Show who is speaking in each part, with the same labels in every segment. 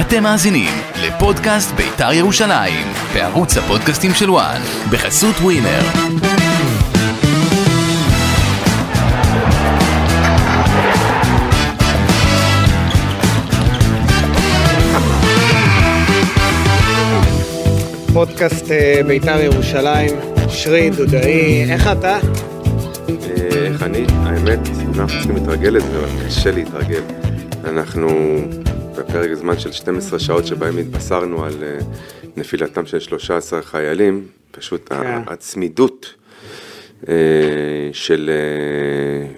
Speaker 1: אתם מאזינים לפודקאסט בית"ר ירושלים, בערוץ הפודקאסטים של וואן, בחסות ווינר.
Speaker 2: פודקאסט אה, בית"ר ירושלים, שרי, דודאי, איך אתה?
Speaker 3: אה, איך אני? האמת, אנחנו צריכים להתרגל לזה, אבל קשה להתרגל. אנחנו בפרק זמן של 12 שעות שבהם התבשרנו על אה, נפילתם של 13 חיילים, פשוט ה-
Speaker 2: כן.
Speaker 3: הצמידות אה, של אה,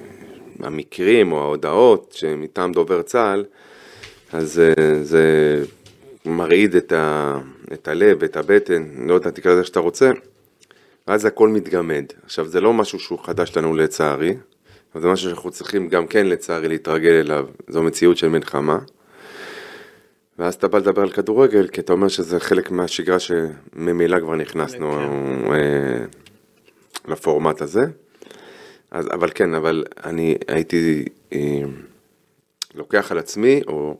Speaker 3: המקרים או ההודעות שמטעם דובר צה"ל, אז אה, זה מרעיד את, ה, את הלב, את הבטן, לא יודע, תקרא לזה איך שאתה רוצה, ואז הכל מתגמד. עכשיו, זה לא משהו שהוא חדש לנו לצערי, אבל זה משהו שאנחנו צריכים גם כן לצערי להתרגל אליו, זו מציאות של מלחמה. ואז אתה בא לדבר על כדורגל, כי אתה אומר שזה חלק מהשגרה שממילא כבר נכנסנו אה, לפורמט הזה. אז, אבל כן, אבל אני הייתי אה, לוקח על עצמי, או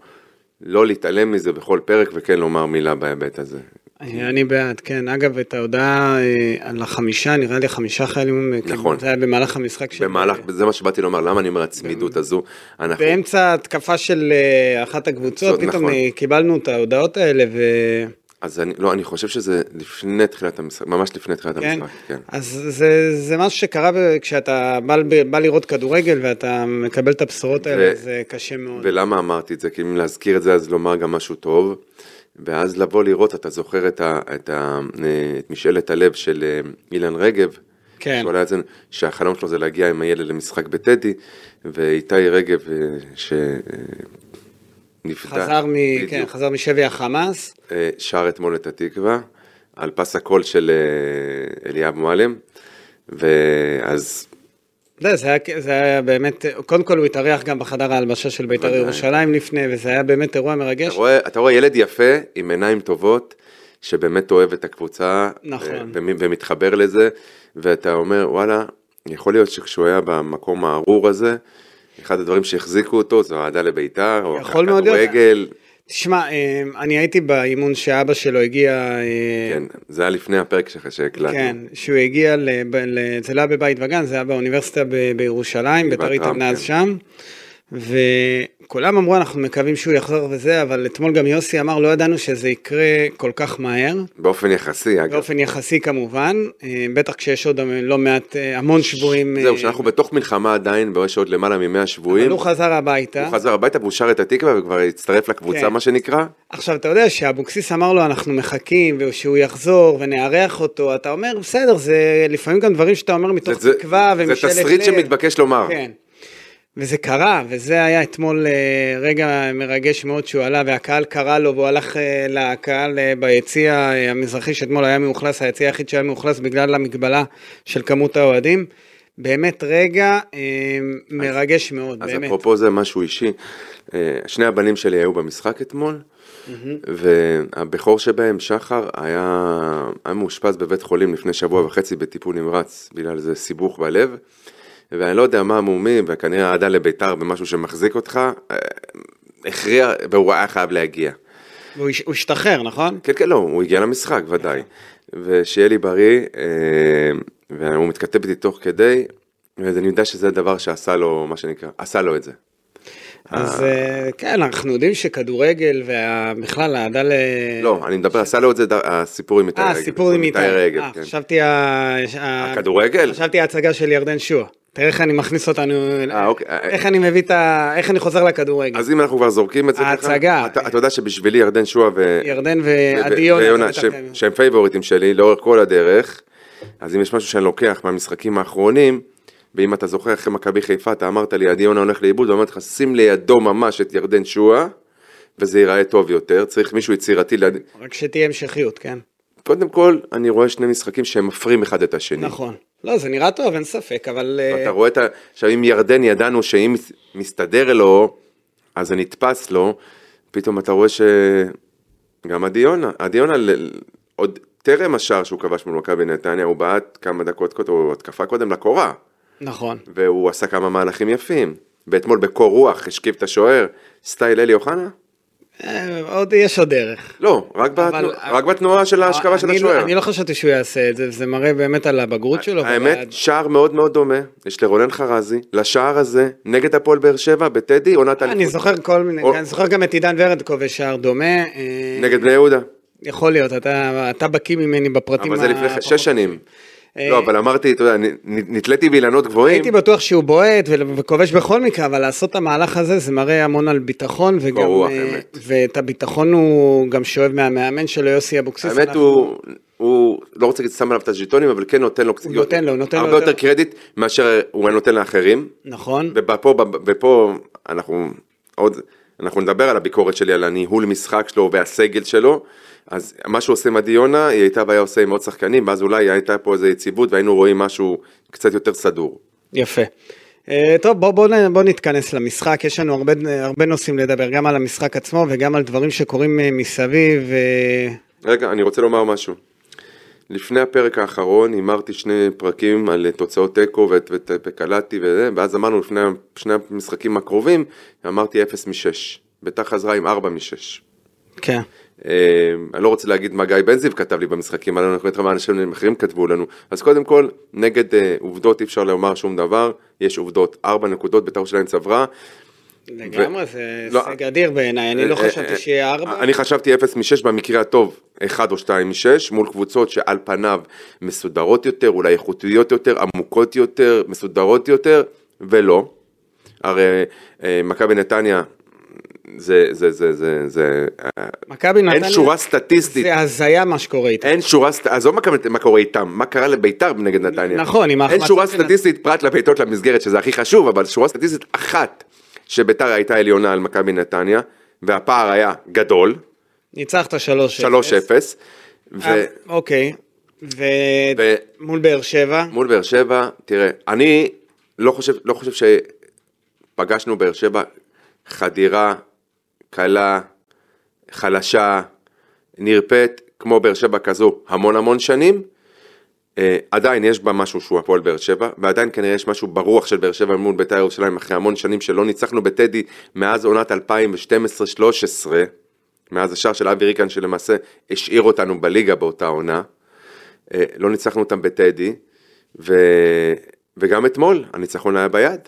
Speaker 3: לא להתעלם מזה בכל פרק, וכן לומר מילה בהיבט הזה.
Speaker 2: אני בעד, כן. אגב, את ההודעה אה, על החמישה, נראה לי חמישה חיילים, אה,
Speaker 3: נכון.
Speaker 2: זה היה במהלך המשחק של...
Speaker 3: במהלך, זה מה שבאתי לומר, למה אני אומר הצמידות הזו, אנחנו,
Speaker 2: באמצע התקפה של אה, אחת הקבוצות,
Speaker 3: זאת,
Speaker 2: פתאום
Speaker 3: נכון.
Speaker 2: אה, קיבלנו את ההודעות האלה, ו...
Speaker 3: אז אני, לא, אני חושב שזה לפני תחילת המשחק, ממש לפני תחילת
Speaker 2: כן.
Speaker 3: המשחק, כן.
Speaker 2: אז זה, זה משהו שקרה ב- כשאתה בא, ב- בא לראות כדורגל ואתה מקבל את הבשורות האלה,
Speaker 3: ו-
Speaker 2: זה קשה מאוד.
Speaker 3: ולמה אמרתי את זה? כי אם להזכיר את זה, אז לומר גם משהו טוב. ואז לבוא לראות, אתה זוכר את, ה, את, ה, אה, את משאלת הלב של אה, אילן רגב,
Speaker 2: כן.
Speaker 3: שהוא עלה את זה, שהחלום שלו זה להגיע עם הילד למשחק בטדי, ואיתי רגב, אה, שנפדה,
Speaker 2: חזר, מ... כן, חזר משבי החמאס.
Speaker 3: אה, שר אתמול את התקווה, על פס הקול של אה, אליאב מועלם, ואז
Speaker 2: אתה יודע, לא, זה היה, זה היה באמת, קודם כל הוא התארח גם בחדר ההלבשה של בית"ר
Speaker 3: בוודאי.
Speaker 2: ירושלים לפני, וזה היה באמת אירוע מרגש.
Speaker 3: אתה רואה, אתה רואה ילד יפה עם עיניים טובות, שבאמת אוהב את הקבוצה,
Speaker 2: נכון.
Speaker 3: אה, ומ- ומתחבר לזה, ואתה אומר, וואלה, יכול להיות שכשהוא היה במקום הארור הזה, אחד הדברים שהחזיקו אותו זה אוהדה לביתר, או
Speaker 2: יכול מאוד להיות.
Speaker 3: הכדורגל,
Speaker 2: תשמע, אה, אני הייתי באימון שאבא שלו הגיע, אה,
Speaker 3: כן, זה היה לפני הפרק שלך שהקלטנו.
Speaker 2: כן, שהוא הגיע, ל- ב- ל- זה לא היה בבית וגן, זה היה באוניברסיטה ב- בירושלים, בית"ר
Speaker 3: גבעת רם,
Speaker 2: התאמנה אז
Speaker 3: כן.
Speaker 2: שם, וכולם אמרו, אנחנו מקווים שהוא יחזור וזה, אבל אתמול גם יוסי אמר, לא ידענו שזה יקרה כל כך מהר.
Speaker 3: באופן יחסי, אגב.
Speaker 2: באופן יחסי כמובן, אה, בטח כשיש עוד לא מעט, אה, המון שבויים. אה,
Speaker 3: זהו, שאנחנו בתוך מלחמה עדיין, ויש עוד למעלה מ-100 שבויים.
Speaker 2: אבל הוא חזר הביתה.
Speaker 3: הוא חזר הביתה והוא שר את התקווה וכבר הצטרף לקבוצה,
Speaker 2: כן.
Speaker 3: מה שנקרא.
Speaker 2: עכשיו, אתה יודע שאבוקסיס אמר לו, אנחנו מחכים, ושהוא יחזור, ונארח אותו, אתה אומר, בסדר, זה לפעמים גם דברים שאתה אומר מתוך
Speaker 3: זה-
Speaker 2: תקווה
Speaker 3: זה
Speaker 2: ומשאלת לב.
Speaker 3: תסריט שמתבקש לומר.
Speaker 2: כן. וזה קרה, וזה היה אתמול אה, רגע מרגש מאוד שהוא עלה, והקהל קרא לו, והוא הלך אה, לקהל אה, ביציע אה, המזרחי, שאתמול היה מאוכלס, היציע היחיד שהיה מאוכלס בגלל המגבלה של כמות האוהדים. באמת רגע אה, מרגש מאוד,
Speaker 3: אז
Speaker 2: באמת.
Speaker 3: אפרופו זה משהו אישי, אה, שני הבנים שלי היו במשחק אתמול, והבכור שבהם, שחר, היה, היה מאושפז בבית חולים לפני שבוע וחצי בטיפול נמרץ, בגלל איזה סיבוך בלב, ואני לא יודע מה המומים, וכנראה אהדה לביתר במשהו שמחזיק אותך, אה, הכריע, והוא היה חייב להגיע.
Speaker 2: והוא הש- הוא השתחרר, נכון?
Speaker 3: כן, כן, לא, הוא הגיע למשחק, ודאי. ושיהיה לי בריא, אה, והוא מתכתב איתי תוך כדי, ואני יודע שזה הדבר שעשה לו, מה שנקרא, עשה לו את זה.
Speaker 2: אז אה, כן, אנחנו יודעים שכדורגל, ובכלל, האהדה ל...
Speaker 3: לא, אני מדבר, עשה לו את זה ד- הסיפור עם איתי רגל.
Speaker 2: אה, סיפור עם איתי.
Speaker 3: רגל,
Speaker 2: אה,
Speaker 3: כן.
Speaker 2: חשבתי ה- ה-
Speaker 3: הכדורגל?
Speaker 2: חשבתי ההצגה של ירדן שועה. תראה איך אני מכניס אותנו,
Speaker 3: אה, אוקיי.
Speaker 2: איך אני מביא את ה... איך אני חוזר לכדורגל.
Speaker 3: אז אם אנחנו כבר זורקים את זה ככה,
Speaker 2: ההצגה.
Speaker 3: אתה אתה יודע שבשבילי ירדן שועה ו...
Speaker 2: ירדן
Speaker 3: ו-
Speaker 2: ועדי
Speaker 3: ו- ויונה,
Speaker 2: יונה. כן.
Speaker 3: שהם- שהם פייבוריטים שלי לאורך כל הדרך, אז אם יש משהו שאני לוקח מהמשחקים האחרונים, ואם אתה זוכר אחרי מכבי חיפה, אתה אמרת לי, עדי יונה הולך לאיבוד, ואמרתי לך, שים לידו ממש את ירדן שועה, וזה ייראה טוב יותר, צריך מישהו יצירתי ליד...
Speaker 2: רק שתהיה המשכיות, כן.
Speaker 3: Mm. קודם כל, אני רואה שני משחקים שהם מפרים אחד את השני.
Speaker 2: נכון. לא, זה נראה טוב, אין ספק, אבל... אה,
Speaker 3: ואתה רואה את ה... עכשיו, אם ירדן ידענו שאם מס- מסתדר לו, אז זה נתפס לו, פתאום אתה רואה ש... גם עדי יונה, עדי יונה ל- עוד טרם השער שהוא כבש מול מכבי נתניה, הוא בעט כמה דקות קודם, או התקפה קודם לקורה,
Speaker 2: נכון.
Speaker 3: והוא עשה כמה מהלכים יפים. ואתמול בקור רוח השכיב את השוער, סטייל אלי אוחנה,
Speaker 2: אה, עוד, יש עוד דרך.
Speaker 3: לא, רק,
Speaker 2: אבל-
Speaker 3: בתנוע, רק בתנועה של ההשכבה של
Speaker 2: אני לא-
Speaker 3: השוער.
Speaker 2: אני לא חשבתי שהוא יעשה את זה, זה מראה באמת על הבגרות שלו. ועל-
Speaker 3: האמת, שער מאוד מאוד דומה, יש לרונן חרזי, לשער הזה, נגד הפועל באר שבע, בטדי, עונת
Speaker 2: אני
Speaker 3: אליפות.
Speaker 2: זוכר כל מיני,
Speaker 3: או-
Speaker 2: אני זוכר גם את עידן ורד כובש שער דומה. אה,
Speaker 3: נגד בני יהודה,
Speaker 2: יכול להיות, אתה, אתה בקיא ממני בפרטים.
Speaker 3: אבל זה לפני ח-
Speaker 2: הפחות-
Speaker 3: שש שנים.
Speaker 2: אוקיי. אה,
Speaker 3: לא, אבל אמרתי, אתה יודע, נ- נ- נתליתי באילנות גבוהים,
Speaker 2: הייתי בטוח שהוא בועט ו- וכובש בכל מקרה, אבל לעשות את המהלך הזה זה מראה המון על ביטחון, וגם,
Speaker 3: ברוח,
Speaker 2: אה,
Speaker 3: אמת.
Speaker 2: ואת הביטחון הוא גם שואב מהמאמן שלו, יוסי אבוקסיס.
Speaker 3: האמת
Speaker 2: אנחנו-
Speaker 3: הוא, הוא לא רוצה להגיד שם עליו את הז'יטונים, אבל כן נותן לו קצת,
Speaker 2: נותן לו, נותן לו
Speaker 3: הרבה יותר
Speaker 2: יותר.
Speaker 3: קרדיט מאשר הוא היה נותן לאחרים,
Speaker 2: נכון,
Speaker 3: ופה, ופה אנחנו עוד, אנחנו נדבר על הביקורת שלי על הניהול משחק שלו והסגל שלו, אז מה שהוא עושה עם עדי יונה, היא הייתה בעיה עושה עם עוד שחקנים, ואז אולי הייתה פה איזו יציבות והיינו רואים משהו קצת יותר סדור.
Speaker 2: יפה. אה, טוב, בואו בוא, נ- בוא נתכנס למשחק, יש לנו הרבה, הרבה נושאים לדבר, גם על המשחק עצמו וגם על דברים שקורים אה, מסביב. אה,
Speaker 3: רגע, אני רוצה לומר משהו. לפני הפרק האחרון הימרתי שני פרקים על אה, תוצאות תיקו ואת- ואת- וקלעתי וזה, ואז אמרנו לפני שני המשחקים הקרובים, אמרתי 0 מ-6. ביתר חזרה עם 4 מ-6.
Speaker 2: כן.
Speaker 3: אה, אני לא רוצה להגיד מה גיא בן זיו כתב לי במשחקים האלה, אנחנו נראה מה אנשים אחרים כתבו לנו. אז קודם כל, נגד אה, עובדות אי אפשר לומר שום דבר, יש עובדות. ארבע נקודות בית"ר שלהם צברה.
Speaker 2: לגמרי, זה
Speaker 3: לא,
Speaker 2: הישג אדיר בעיניי, אני לא
Speaker 3: אה, אה,
Speaker 2: חשבתי
Speaker 3: אה,
Speaker 2: שיהיה ארבע.
Speaker 3: אני חשבתי 0 מ-6 במקרה הטוב, 1 או 2 מ-6, מול קבוצות שעל פניו מסודרות יותר, אולי איכותיות יותר, עמוקות יותר, מסודרות יותר, ולא. הרי אה, מכבי נתניה, זה, זה, זה, זה, זה, אה,
Speaker 2: מכבי נתניה,
Speaker 3: אין שורה סטטיסטית.
Speaker 2: זה הזיה מה שקורה איתה.
Speaker 3: אין שורה, סט- עזוב מה קרה- מה קורה איתם, מה קרה לביתר נגד נתניה.
Speaker 2: נכון, עם
Speaker 3: אין
Speaker 2: ההחמצה
Speaker 3: שורה
Speaker 2: של-
Speaker 3: סטטיסטית פרט לבעיטות למסגרת, שזה הכי חשוב, אבל שורה סטטיסטית אחת שביתר הייתה עליונה על מכבי נתניה, והפער היה גדול,
Speaker 2: ניצחת שלוש
Speaker 3: 3-0,
Speaker 2: אה,
Speaker 3: ו-
Speaker 2: אוקיי,
Speaker 3: ו-
Speaker 2: ומול באר שבע,
Speaker 3: מול באר שבע, תראה, אני לא חושב, לא חושב שפגשנו באר שבע חדירה קלה, חלשה, נרפית, כמו באר שבע כזו המון המון שנים. אה, עדיין יש בה משהו שהוא הפועל באר שבע, ועדיין כנראה יש משהו ברוח של באר שבע מול בית"ר ירושלים אחרי המון שנים שלא ניצחנו בטדי מאז עונת 2012-2013, מאז השער של אבי ריקן שלמעשה השאיר אותנו בליגה באותה עונה. אה, לא ניצחנו אותם בטדי, ו... וגם אתמול הניצחון היה ביד.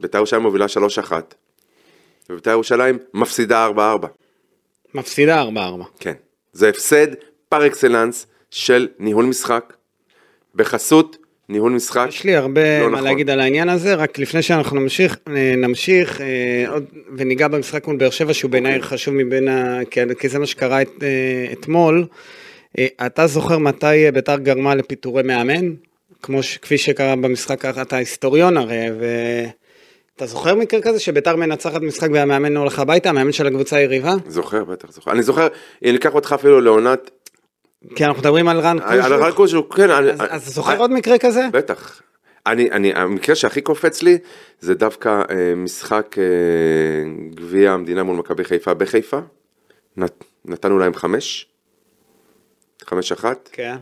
Speaker 3: בית"ר ירושלים מובילה 3-1, ובית"ר ירושלים מפסידה 4-4.
Speaker 2: מפסידה ארבע ארבע.
Speaker 3: כן. זה הפסד פר אקסלנס של ניהול משחק, בחסות ניהול משחק.
Speaker 2: יש לי הרבה
Speaker 3: לא
Speaker 2: מה
Speaker 3: נכון.
Speaker 2: להגיד על העניין הזה, רק לפני שאנחנו נמשיך, אה, נמשיך אה, עוד, וניגע במשחק מול באר שבע, שהוא בעיניי
Speaker 3: אוקיי.
Speaker 2: חשוב מבין ה... כי, כי זה מה שקרה את, אה, אתמול. אה, אתה זוכר מתי אה, ביתר גרמה לפיטורי מאמן? כמו ש... כפי שקרה במשחק, ה- אתה היסטוריון הרי, ו... אתה זוכר מקרה כזה שביתר מנצחת משחק והמאמן הולך הביתה, המאמן של הקבוצה היריבה?
Speaker 3: זוכר, בטח זוכר. אני זוכר, אני אקח אותך אפילו לעונת...
Speaker 2: כי אנחנו מדברים על רן
Speaker 3: אה, על אה, הרל
Speaker 2: קוז'וק.
Speaker 3: קוז'וק, כן. אני-
Speaker 2: אז אז אתה זוכר עוד מקרה כזה?
Speaker 3: בטח. אני, אני, המקרה שהכי קופץ לי זה דווקא אה, משחק אה, גביע המדינה מול מכבי חיפה בחיפה. נת, נתנו להם חמש, חמש אחת,
Speaker 2: כן,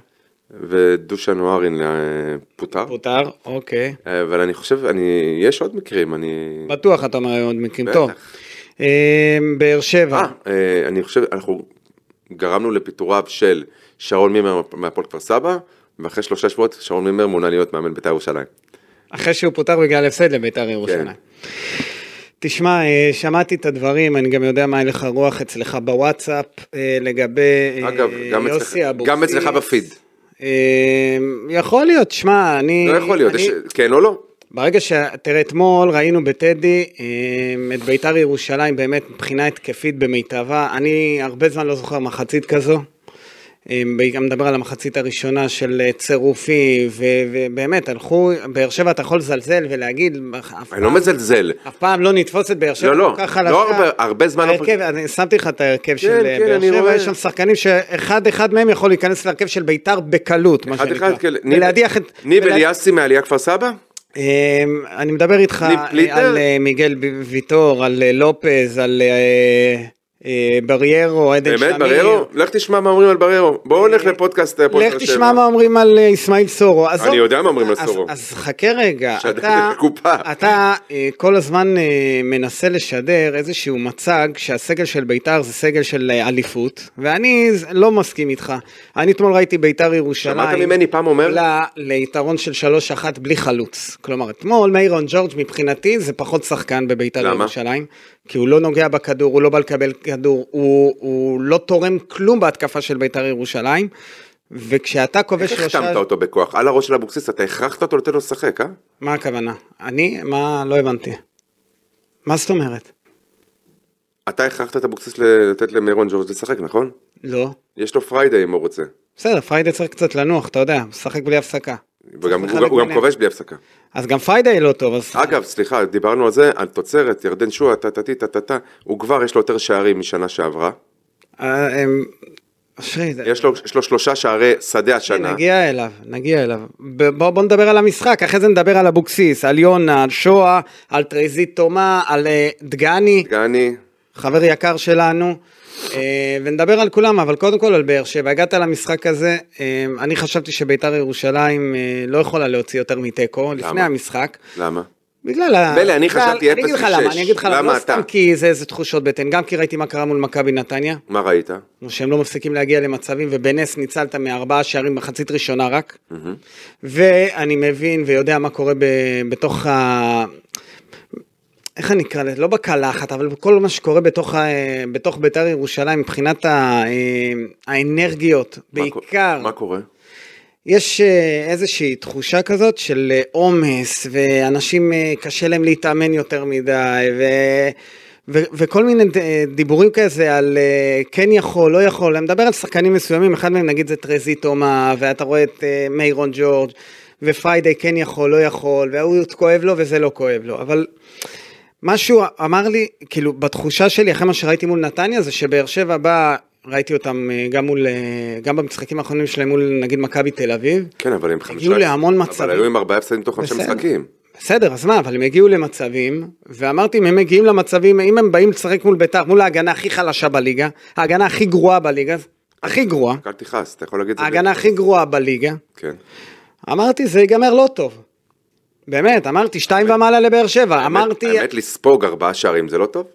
Speaker 3: ודושן אוהרין אה, פוטר.
Speaker 2: פוטר, אוקיי.
Speaker 3: אה, אבל אני חושב, אני, יש עוד מקרים, אני...
Speaker 2: בטוח אתה אומר היו עוד מקרים.
Speaker 3: בטח.
Speaker 2: טוב, אה, באר שבע,
Speaker 3: אה, אה, אני חושב, אנחנו גרמנו לפיטוריו של שרון מימר מהפועל כפר סבא, ואחרי שלושה שבועות שרון מימר מונה להיות מאמן בית"ר ירושלים.
Speaker 2: אחרי שהוא פוטר בגלל הפסד לביתר
Speaker 3: כן.
Speaker 2: ירושלים. תשמע, אה, שמעתי את הדברים, אני גם יודע מה הלך הרוח אצלך בוואטסאפ אה, לגבי אה,
Speaker 3: אגב, גם אצלך-
Speaker 2: יוסי אבוקסיס.
Speaker 3: גם אצלך בפיד.
Speaker 2: אה, יכול להיות, שמע, אני...
Speaker 3: לא יכול להיות,
Speaker 2: אני-
Speaker 3: יש, כן או לא?
Speaker 2: ברגע ש... תראה, אתמול ראינו בטדי אה, את ביתר ירושלים באמת מבחינה התקפית במיטבה. אני הרבה זמן לא זוכר מחצית כזו. אה, גם מדבר על המחצית הראשונה של אה, צירופי, ו... ובאמת, הלכו, באר שבע אתה יכול לזלזל ולהגיד, אף
Speaker 3: אני לא
Speaker 2: פעם-
Speaker 3: מזלזל.
Speaker 2: אף פעם לא נתפוס את באר שבע
Speaker 3: לא, לא.
Speaker 2: כל כך
Speaker 3: לא
Speaker 2: חלשה.
Speaker 3: הרבה- הרבה זמן לא-
Speaker 2: ההרכב, אני שמתי לך את ההרכב של אה,
Speaker 3: כן,
Speaker 2: באר
Speaker 3: אני
Speaker 2: שבע,
Speaker 3: רואה.
Speaker 2: יש שם שחקנים שאחד אחד מהם יכול להיכנס להרכב של ביתר בקלות, מה
Speaker 3: אחד
Speaker 2: שנקרא.
Speaker 3: אחד, כן. ניב-
Speaker 2: ולהדיח את...
Speaker 3: ניב
Speaker 2: ולה-
Speaker 3: אליאסי מעלייה כפר סבא?
Speaker 2: אמ, אני מדבר איתך
Speaker 3: ניב פליטר?
Speaker 2: על אה, מיגל ב- ויטור, על אה, לופז, על אה, אה, בריירו, עדן שמיר. אה,
Speaker 3: באמת, בריירו? לך תשמע מה אומרים על בריירו. בואו נלך לפודקאסט אה,
Speaker 2: לך
Speaker 3: הפודקאסט
Speaker 2: תשמע מה אומרים על אה, אסמאעיל סורו. עזוב.
Speaker 3: אני יודע מה אומרים על
Speaker 2: אז-
Speaker 3: סורו.
Speaker 2: אז חכה רגע,
Speaker 3: שדר
Speaker 2: אתה-
Speaker 3: בקופה.
Speaker 2: אתה אה, כל הזמן אה, מנסה לשדר איזשהו מצג שהסגל של בית"ר זה סגל של אה, אליפות, ואני ז- לא מסכים איתך. אני אתמול ראיתי בית"ר ירושלים.
Speaker 3: שמעת ממני פעם אומר?
Speaker 2: ל- ליתרון של 3-1 בלי חלוץ. כלומר, אתמול מאירון ג'ורג' מבחינתי זה פחות שחקן בבית"ר
Speaker 3: למה?
Speaker 2: ירושלים. כי הוא לא נוגע בכדור, הוא לא בא לקבל כדור, הוא, הוא לא תורם כלום בהתקפה של בית"ר ירושלים. וכשאתה כובש
Speaker 3: איך
Speaker 2: שלושה...
Speaker 3: החתמת אותו בכוח? על הראש של אבוקסיס, אתה הכרחת אותו לתת לו לשחק, אה?
Speaker 2: מה הכוונה? אני? מה? לא הבנתי. מה זאת אומרת?
Speaker 3: אתה הכרחת את אבוקסיס ל- לתת למירון ג'ורג' לשחק, נכון?
Speaker 2: לא.
Speaker 3: יש לו פריידי אם הוא רוצה.
Speaker 2: בסדר, פריידי צריך קצת לנוח, אתה יודע, משחק בלי הפסקה.
Speaker 3: וגם
Speaker 2: לחלק
Speaker 3: הוא גם- הוא גם
Speaker 2: ביניהם.
Speaker 3: כובש בלי הפסקה.
Speaker 2: אז גם פריידי לא טוב, אז...
Speaker 3: אגב, סליחה, דיברנו על זה, על תוצרת, ירדן שועה, טה-טה-טי, טה-טה-טה, הוא כבר, יש לו יותר שערים משנה שעברה.
Speaker 2: אה, אמ, אשרי, זה-
Speaker 3: יש לו, יש לו שלושה שערי שדה השנה.
Speaker 2: נגיע אליו, נגיע אליו. ב- בוא, בוא נדבר על המשחק, אחרי זה נדבר על אבוקסיס, על יונה, על שואה, על טרזית תומה, על אה, דגני,
Speaker 3: גני,
Speaker 2: חבר יקר שלנו, אה, ונדבר על כולם, אבל קודם כל על באר שבע. הגעת למשחק הזה, אה, אני חשבתי שביתר ירושלים אה, לא יכולה להוציא יותר מתיקו, לפני המשחק.
Speaker 3: למה?
Speaker 2: בגלל ה...
Speaker 3: מילא, אני
Speaker 2: בגלל-
Speaker 3: חשבתי
Speaker 2: אני אגיד לך
Speaker 3: 0.6.
Speaker 2: למה, אני אגיד לך למה,
Speaker 3: למה
Speaker 2: לא
Speaker 3: אתה?
Speaker 2: סתם כי זה איזה תחושות בטן, גם כי ראיתי מה קרה מול מכבי נתניה,
Speaker 3: מה ראית?
Speaker 2: נו, שהם לא מפסיקים להגיע למצבים, ובנס ניצלת מארבעה שערים מחצית ראשונה רק. ואני מבין ויודע מה קורה ב... בתוך ה... איך אני אקרא לזה? לא בקלחת, אבל כל מה שקורה בתוך, ה... בתוך בית"ר ירושלים מבחינת ה... אה, האנרגיות,
Speaker 3: מה קו-
Speaker 2: בעיקר.
Speaker 3: מה קורה?
Speaker 2: יש אה, איזושהי תחושה כזאת של אה, עומס, ואנשים אה, קשה להם להתאמן יותר מדי, ו... ו- וכל מיני ד- אה, דיבורים כזה על אה, כן יכול, לא יכול, אני מדבר על שחקנים מסוימים, אחד מהם נגיד זה טרזי תומה, ואתה רואה את אה, מיירון ג'ורג', ופריידי כן יכול, לא יכול, וההוא כואב לו וזה לא כואב לו, אבל משהו אמר לי, כאילו, בתחושה שלי, אחרי מה שראיתי מול נתניה, זה שבאר שבע באה, ראיתי אותם אה, גם מול, אה, גם במשחקים האחרונים שלהם מול, נגיד, מכבי תל אביב.
Speaker 3: כן, אבל הם חמישה...
Speaker 2: להמון מצבים.
Speaker 3: אבל היו עם ארבעה הפסדים תוך חמישה
Speaker 2: בסדר.
Speaker 3: משחקים.
Speaker 2: בסדר, אז מה, אבל הם הגיעו למצבים, ואמרתי, אם הם מגיעים למצבים, אם הם באים לשחק מול ביתר, מול ההגנה הכי חלשה בליגה, ההגנה הכי גרועה בליגה, הכי גרועה,
Speaker 3: רק אל תכעס, אתה יכול להגיד את זה.
Speaker 2: ההגנה הכי גרועה בליגה,
Speaker 3: כן.
Speaker 2: אמרתי, זה ייגמר לא טוב. באמת, אמרתי, שתיים ומעלה לבאר שבע, אמרתי...
Speaker 3: האמת, לספוג ארבעה שערים זה לא טוב?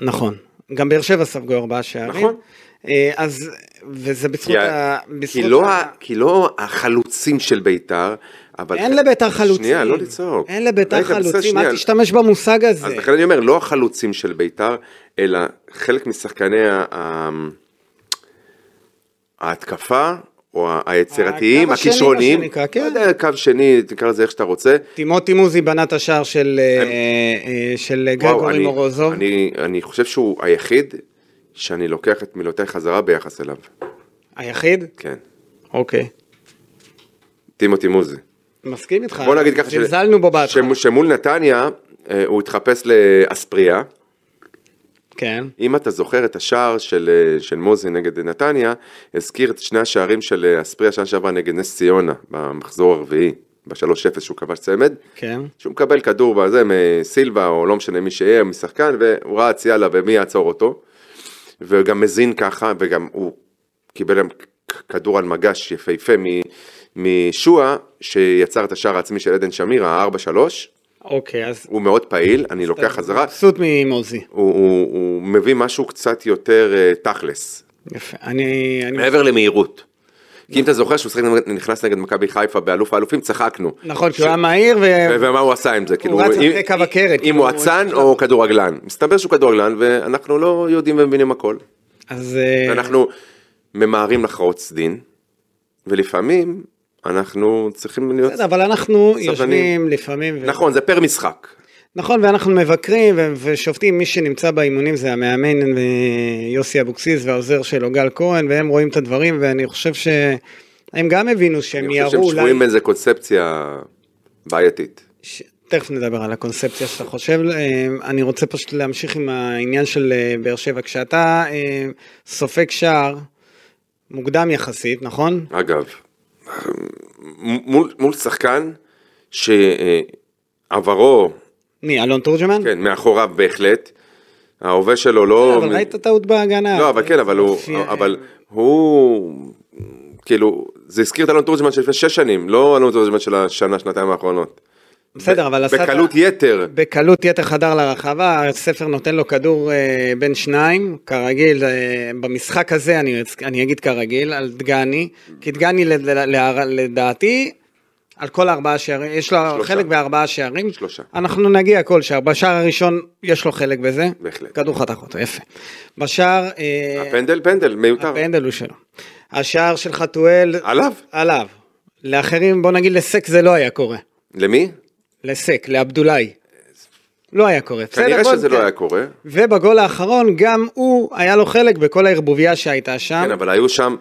Speaker 2: נכון. גם באר שבע ספגו ארבעה שערים.
Speaker 3: נכון.
Speaker 2: אה, אז, וזה בזכות
Speaker 3: כי
Speaker 2: ה...
Speaker 3: ה-
Speaker 2: בזכות
Speaker 3: כי לא
Speaker 2: ה-
Speaker 3: ה- כי לא החלוצים של ביתר, אבל...
Speaker 2: אין לביתר חלוצים.
Speaker 3: שנייה, לא לצעוק.
Speaker 2: אין לביתר
Speaker 3: רגע, בסדר,
Speaker 2: חלוצים,
Speaker 3: שנייה.
Speaker 2: אל תשתמש במושג הזה.
Speaker 3: אז לכן אני אומר, לא החלוצים של ביתר, אלא חלק משחקני ה- ה- ההתקפה, או ה- היצירתיים,
Speaker 2: הקו השני,
Speaker 3: הכישרוניים,
Speaker 2: מה שנקרא, כן.
Speaker 3: לא יודע, קו שני, תקרא לזה איך שאתה רוצה.
Speaker 2: טימותי מוזי בנה את השער של, אה, אה, של
Speaker 3: וואו,
Speaker 2: גרגורי
Speaker 3: אני-
Speaker 2: מורוזוב.
Speaker 3: אני- אני חושב שהוא היחיד שאני לוקח את מילותיי חזרה ביחס אליו,
Speaker 2: היחיד?
Speaker 3: כן.
Speaker 2: אוקיי.
Speaker 3: טימותי מוזי.
Speaker 2: מסכים איתך.
Speaker 3: בוא נגיד ככה, ש-
Speaker 2: אה, זלזלנו בו בהתחלה.
Speaker 3: שמ- שמול נתניה אה, הוא התחפש לאספריה.
Speaker 2: כן.
Speaker 3: אם אתה זוכר את השער של, אה, של מוזי נגד נתניה, הזכיר את שני השערים של אה, אספריה שנה שעברה נגד נס ציונה, במחזור הרביעי, ב-3-0 שהוא כבש צמד,
Speaker 2: כן.
Speaker 3: שהוא מקבל כדור בזה מסילבה או לא משנה מי שיהיה, משחקן, והוא רץ יאללה ומי יעצור אותו. וגם מזין ככה, וגם הוא קיבל גם כ- כדור על מגש יפהפה מ- משועה, שיצר את השער העצמי של עדן שמיר, ה-4-3,
Speaker 2: אוקיי, אז...
Speaker 3: הוא מאוד פעיל, אני לוקח חזרה,
Speaker 2: מבסוט ממוזי.
Speaker 3: הוא, הוא, הוא מביא משהו קצת יותר אה, תכלס,
Speaker 2: יפה. אני... אני-
Speaker 3: מעבר למהירות. כי אם אתה זוכר שהוא שחק נגד- נכנס נגד מכבי חיפה באלוף האלופים, צחקנו.
Speaker 2: נכון, כי הוא היה מהיר, ו-
Speaker 3: ו- ומה הוא עשה עם זה? כאילו,
Speaker 2: רץ
Speaker 3: אם-
Speaker 2: אחרי קו הקרן,
Speaker 3: אם
Speaker 2: כאילו,
Speaker 3: הוא
Speaker 2: הוא-
Speaker 3: אצן או כדורגלן. מסתבר שהוא כדורגלן, ואנחנו לא יודעים ומבינים הכל.
Speaker 2: אז... אה,
Speaker 3: אנחנו ממהרים לחרוץ דין, ולפעמים אנחנו צריכים להיות...
Speaker 2: בסדר, אבל אנחנו
Speaker 3: סבלנים.
Speaker 2: יושבים לפעמים... ו-
Speaker 3: נכון, זה פר משחק.
Speaker 2: נכון, ואנחנו מבקרים ו- ושופטים, מי שנמצא באימונים זה המאמן אה, יוסי אבוקסיס והעוזר שלו גל כהן, והם רואים את הדברים, ואני חושב שהם גם הבינו שהם
Speaker 3: אני חושב
Speaker 2: יערו
Speaker 3: שהם
Speaker 2: אולי...
Speaker 3: שבויים באיזה קונספציה בעייתית.
Speaker 2: ש... תכף נדבר על הקונספציה שאתה חושב, אה, אני רוצה פשוט להמשיך עם העניין של אה, באר שבע. כשאתה אה, סופג שער, מוקדם יחסית, נכון?
Speaker 3: אגב, מ- מול, מול שחקן שעברו,
Speaker 2: מי, אלון תורג'מן?
Speaker 3: כן, מאחוריו כן, בהחלט, ההווה שלו לא...
Speaker 2: כן, אבל ראית טעות בהגנה.
Speaker 3: לא, אבל כן, אבל הוא, אבל הוא, כאילו, זה הזכיר את אלון תורג'מן של לפני שש שנים, לא אלון תורג'מן של השנה, שנתיים האחרונות.
Speaker 2: בסדר, אבל עשה...
Speaker 3: בקלות יתר.
Speaker 2: בקלות יתר חדר לרחבה, הספר נותן לו כדור אה, בין שניים, כרגיל, אה, במשחק הזה אני, אצ- אני אגיד כרגיל, על דגני, כי דגני לד- ל- לדעתי, על כל ארבעה שערים, יש לו
Speaker 3: שלושה.
Speaker 2: חלק בארבעה שערים,
Speaker 3: שלושה.
Speaker 2: אנחנו נגיע כל שער, בשער הראשון יש לו חלק בזה,
Speaker 3: בהחלט.
Speaker 2: כדור חתך אותו, יפה. בשער, אה,
Speaker 3: הפנדל, פנדל, מיותר.
Speaker 2: הפנדל הוא שלו. השער של חתואל,
Speaker 3: עליו?
Speaker 2: עליו. לאחרים, בוא נגיד לסק זה לא היה קורה.
Speaker 3: למי?
Speaker 2: לסק, לעבדולאי. לא היה קורה.
Speaker 3: כנראה
Speaker 2: בסדר,
Speaker 3: שזה
Speaker 2: בוא- כן.
Speaker 3: לא היה קורה.
Speaker 2: ובגול האחרון גם הוא, היה לו חלק בכל הערבוביה שהייתה שם.
Speaker 3: כן, אבל היו שם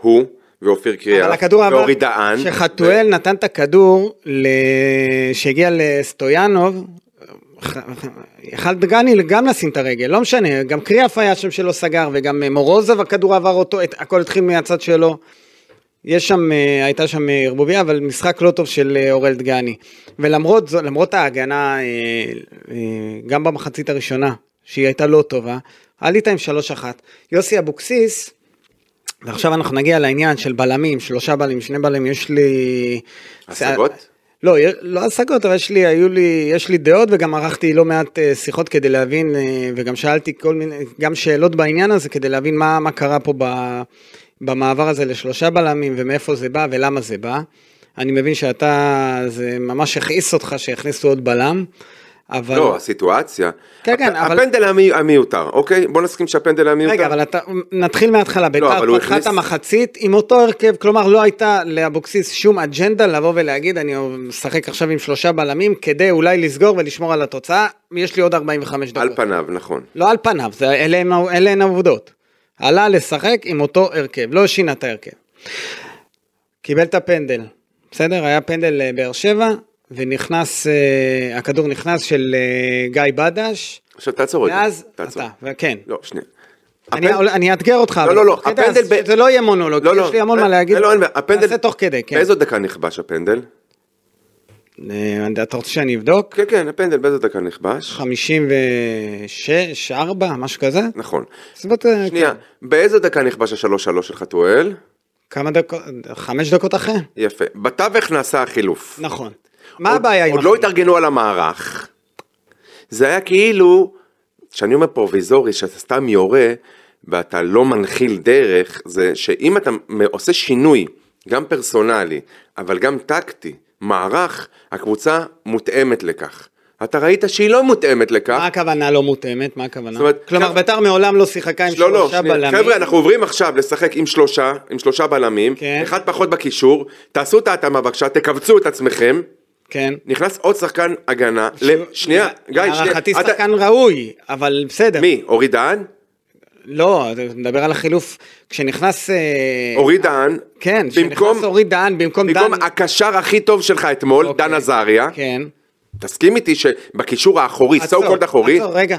Speaker 3: הוא ואופיר
Speaker 2: אבל
Speaker 3: קריאף
Speaker 2: הכדור
Speaker 3: ואורי דהן.
Speaker 2: שחתואל נתן את הכדור ל... שהגיע לסטויאנוב. ח- ח- יכל דגני גם לשים את הרגל, לא משנה, גם קריאף היה שם שלא סגר, וגם אה, מורוזוב הכדור עבר אותו, את- הכל התחיל מהצד שלו. יש שם, אה, הייתה שם אה, ערבוביה, אבל משחק לא טוב של אה, אורל דגני. ולמרות זאת, למרות ההגנה, אה, אה, גם במחצית הראשונה, שהיא הייתה לא טובה, עלית עם 3-1. יוסי אבוקסיס, ועכשיו אנחנו נגיע לעניין של בלמים, שלושה בלמים, שני בלמים, יש לי...
Speaker 3: השגות?
Speaker 2: לא, י- לא השגות, אבל יש לי, היו לי, יש לי דעות וגם ערכתי לא מעט אה, שיחות כדי להבין, אה, וגם שאלתי כל מיני, גם שאלות בעניין הזה כדי להבין מה, מה קרה פה ב, במעבר הזה לשלושה בלמים ומאיפה זה בא ולמה זה בא. אני מבין שאתה, זה ממש הכעיס אותך שהכניסו עוד בלם, אבל...
Speaker 3: לא, הסיטואציה.
Speaker 2: כן, כן,
Speaker 3: הפ-
Speaker 2: אבל-
Speaker 3: הפנדל המי- המיותר, אוקיי? בוא נסכים שהפנדל המיותר.
Speaker 2: רגע, אבל אתה, נתחיל מההתחלה,
Speaker 3: לא, אבל
Speaker 2: ביתר
Speaker 3: הוא
Speaker 2: פתחה את
Speaker 3: הכניס-
Speaker 2: המחצית עם אותו הרכב, כלומר לא הייתה לאבוקסיס שום אג'נדה לבוא ולהגיד אני משחק עכשיו עם שלושה בלמים כדי אולי לסגור ולשמור על התוצאה, יש לי עוד 45
Speaker 3: על
Speaker 2: דקות.
Speaker 3: פניו, נכון.
Speaker 2: לא על פניו, זה, אלה, הם, אלה הן העובדות. עלה לשחק עם אותו הרכב, לא שינה את ההרכב. קיבל את הפנדל, בסדר? היה פנדל אה, באר שבע, ונכנס, אה, הכדור נכנס של אה, גיא בדש,
Speaker 3: עכשיו תעצור רגע.
Speaker 2: ואז
Speaker 3: תעצור.
Speaker 2: אתה, כן.
Speaker 3: לא, שנייה.
Speaker 2: אני,
Speaker 3: הפנדל-
Speaker 2: אני אאתגר אותך,
Speaker 3: לא, לא, לא, הפנדל
Speaker 2: הפנדל...
Speaker 3: ב-
Speaker 2: זה לא יהיה מונולוג,
Speaker 3: לא, לא.
Speaker 2: יש לי המון
Speaker 3: לא,
Speaker 2: מה להגיד,
Speaker 3: לא, אין בעיה. הפנדל...
Speaker 2: נעשה תוך כדי, כן.
Speaker 3: באיזו דקה נכבש הפנדל?
Speaker 2: אה, אתה רוצה שאני אבדוק?
Speaker 3: כן, כן, הפנדל באיזו דקה נכבש?
Speaker 2: 56, 4, משהו כזה?
Speaker 3: נכון.
Speaker 2: בסביבות, אה,
Speaker 3: שנייה, באיזו דקה נכבש השלוש שלוש של חתואל?
Speaker 2: כמה דקות, חמש דקות אחרי?
Speaker 3: יפה. בתווך נעשה החילוף.
Speaker 2: נכון. מה
Speaker 3: עוד-
Speaker 2: הבעיה עם
Speaker 3: עוד לא
Speaker 2: החילוף?
Speaker 3: התארגנו על המערך. זה היה כאילו, כשאני אומר פרוביזורי, שאתה סתם יורה, ואתה לא מנחיל דרך, זה שאם אתה מ- עושה שינוי, גם פרסונלי, אבל גם טקטי, מערך, הקבוצה מותאמת לכך. אתה ראית שהיא לא מותאמת לכך.
Speaker 2: מה הכוונה לא מותאמת? מה הכוונה?
Speaker 3: זאת אומרת,
Speaker 2: כלומר,
Speaker 3: כמה-
Speaker 2: ביתר מעולם לא שיחקה עם
Speaker 3: לא, לא,
Speaker 2: שלושה
Speaker 3: שנייה.
Speaker 2: בלמים.
Speaker 3: חבר'ה, אנחנו עוברים עכשיו לשחק עם שלושה, עם שלושה בלמים,
Speaker 2: כן.
Speaker 3: אחד פחות בקישור, תעשו את ההתאמה בבקשה, תכווצו את עצמכם,
Speaker 2: כן.
Speaker 3: נכנס עוד שחקן הגנה, ל- שנייה, גיא, שנייה,
Speaker 2: להערכתי
Speaker 3: אתה-
Speaker 2: שחקן ראוי, אבל בסדר.
Speaker 3: מי? אורי דהן?
Speaker 2: לא, אתה מדבר על החילוף. כשנכנס... אה,
Speaker 3: אורי דהן?
Speaker 2: כן,
Speaker 3: במקום-
Speaker 2: כשנכנס אורי דהן במקום דן...
Speaker 3: במקום הקשר הכי טוב שלך אתמול,
Speaker 2: אוקיי.
Speaker 3: דן עזריה,
Speaker 2: כן.
Speaker 3: תסכים איתי שבקישור האחורי, סו קולד אחורי,
Speaker 2: עצור, רגע.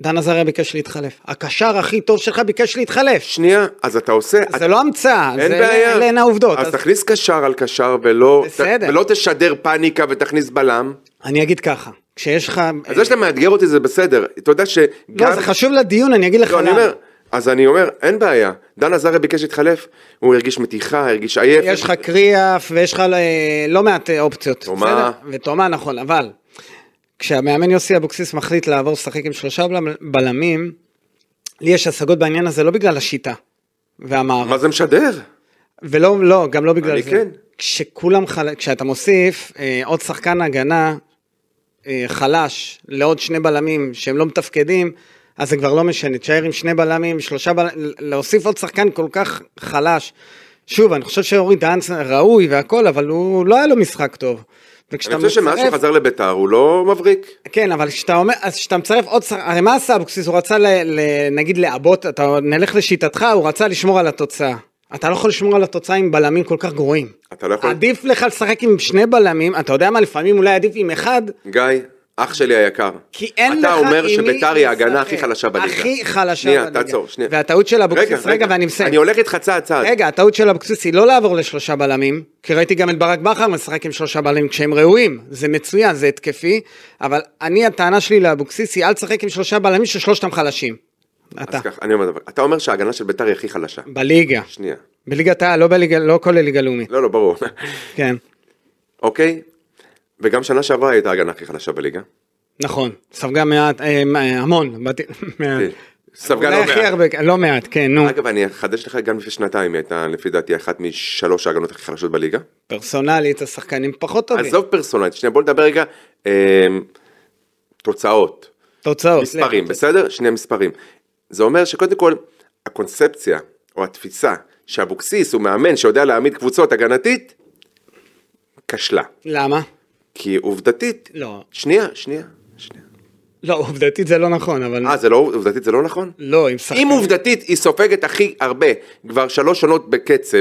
Speaker 2: דן עזריה ביקש להתחלף. הקשר הכי טוב שלך ביקש להתחלף.
Speaker 3: שנייה, אז אתה עושה, את-
Speaker 2: זה לא המצאה,
Speaker 3: אין
Speaker 2: זה-
Speaker 3: בעיה,
Speaker 2: אלה הן העובדות.
Speaker 3: אז
Speaker 2: אז
Speaker 3: תכניס קשר על קשר ולא
Speaker 2: בסדר.
Speaker 3: ולא תשדר פאניקה ותכניס בלם,
Speaker 2: אני אגיד ככה, כשיש לך...
Speaker 3: אז זה שאתה מאתגר אותי זה בסדר, אתה יודע שגם,
Speaker 2: אה. לא, זה חשוב לדיון, אני אגיד לך
Speaker 3: לא, אני
Speaker 2: למה.
Speaker 3: אומר, אז אני אומר, אין בעיה, דן עזריה ביקש להתחלף, הוא הרגיש מתיחה, הרגיש עייף,
Speaker 2: יש לך קריאף ויש לך אה, לא מעט אה, אופציות.
Speaker 3: תומה.
Speaker 2: בסדר? ותומה, נכון, אבל כשהמאמן יוסי אבוקסיס מחליט לעבור לשחק עם שלושה בל- בלמים, לי יש השגות בעניין הזה לא בגלל השיטה והמערך.
Speaker 3: מה זה משדר?
Speaker 2: ולא, לא, גם לא בגלל
Speaker 3: אני
Speaker 2: זה.
Speaker 3: כן.
Speaker 2: כשכולם חל... כשאתה מוסיף אה, עוד שחקן הגנה אה, חלש לעוד שני בלמים שהם לא מתפקדים, אז זה כבר לא משנה. תשאר עם שני בלמים, שלושה בלמים, להוסיף עוד שחקן כל כך חלש. שוב, אני חושב שאורי דהן ראוי והכל, אבל הוא לא היה לו משחק טוב. וכשאתה
Speaker 3: אני חושב שמאז שהוא
Speaker 2: מצרף-
Speaker 3: חזר לביתר הוא לא מבריק.
Speaker 2: כן, אבל כשאתה אומר, אז כשאתה מצרף עוד שחקן, הרי מה עשה אבוקסיס? הוא רצה, ל, ל, נגיד, לעבות, אתה נלך לשיטתך, הוא רצה לשמור על התוצאה. אתה לא יכול לשמור על התוצאה עם בלמים כל כך גרועים.
Speaker 3: אתה לא יכול...
Speaker 2: עדיף לך לשחק עם שני בלמים, אתה יודע מה, לפעמים אולי עדיף עם אחד,
Speaker 3: גיא, אח שלי היקר.
Speaker 2: כי אין
Speaker 3: אתה
Speaker 2: לך
Speaker 3: אומר
Speaker 2: עם מי
Speaker 3: שביתר היא ההגנה
Speaker 2: לשחק.
Speaker 3: הכי חלשה בליגה.
Speaker 2: הכי חלשה
Speaker 3: שנייה,
Speaker 2: בליגה.
Speaker 3: תעצור, שנייה.
Speaker 2: והטעות של אבוקסיס, רגע, ואני מסיים.
Speaker 3: אני הולך איתך צעד צעד.
Speaker 2: רגע, הטעות של אבוקסיס היא לא לעבור לשלושה בלמים, כי ראיתי גם את ברק בכר משחק עם שלושה בלמים כשהם ראויים, זה מצוין, זה התקפי, אבל אני, הטענה שלי לאבוקסיס היא אל תשחק עם שלושה בלמים ששלושתם חלשים. אתה.
Speaker 3: אז ככה, אני אומר דבר. אתה אומר שההגנה של ביתר היא הכי חלשה.
Speaker 2: בליגה.
Speaker 3: שנייה.
Speaker 2: בליגת העל, לא בליגה, לא כולל ליגה לאומית.
Speaker 3: לא, לא, ברור.
Speaker 2: כן,
Speaker 3: אוקיי? וגם שנה שעברה הייתה ההגנה הכי חלשה בליגה.
Speaker 2: נכון. ספגה מעט, אה, אה, המון. באתי- מעט.
Speaker 3: כן. ספגה
Speaker 2: כן. אולי
Speaker 3: לא
Speaker 2: הכי
Speaker 3: מעט.
Speaker 2: הרבה, לא מעט, כן, נו.
Speaker 3: אגב, אני אחדש לך, גם לפני שנתיים היא הייתה, לפי דעתי, אחת משלוש ההגנות הכי חלשות בליגה.
Speaker 2: פרסונלית, השחקנים פחות טובים.
Speaker 3: עזוב פרסונלית, שנייה, בוא נדבר רגע אה, תוצאות.
Speaker 2: תוצאות.
Speaker 3: מספרים,
Speaker 2: לך.
Speaker 3: בסדר? שני מספרים. זה אומר שקודם כל, הקונספציה, או התפיסה, שאבוקסיס הוא מאמן שיודע להעמיד קבוצות הגנתית, כשלה.
Speaker 2: למה?
Speaker 3: כי עובדתית...
Speaker 2: לא.
Speaker 3: שנייה, שנייה, שנייה.
Speaker 2: לא, עובדתית זה לא נכון, אבל...
Speaker 3: אה, זה לא, עובדתית זה לא נכון?
Speaker 2: לא, עם שחקנים.
Speaker 3: אם עובדתית היא סופגת הכי הרבה, כבר שלוש שנות בקצב,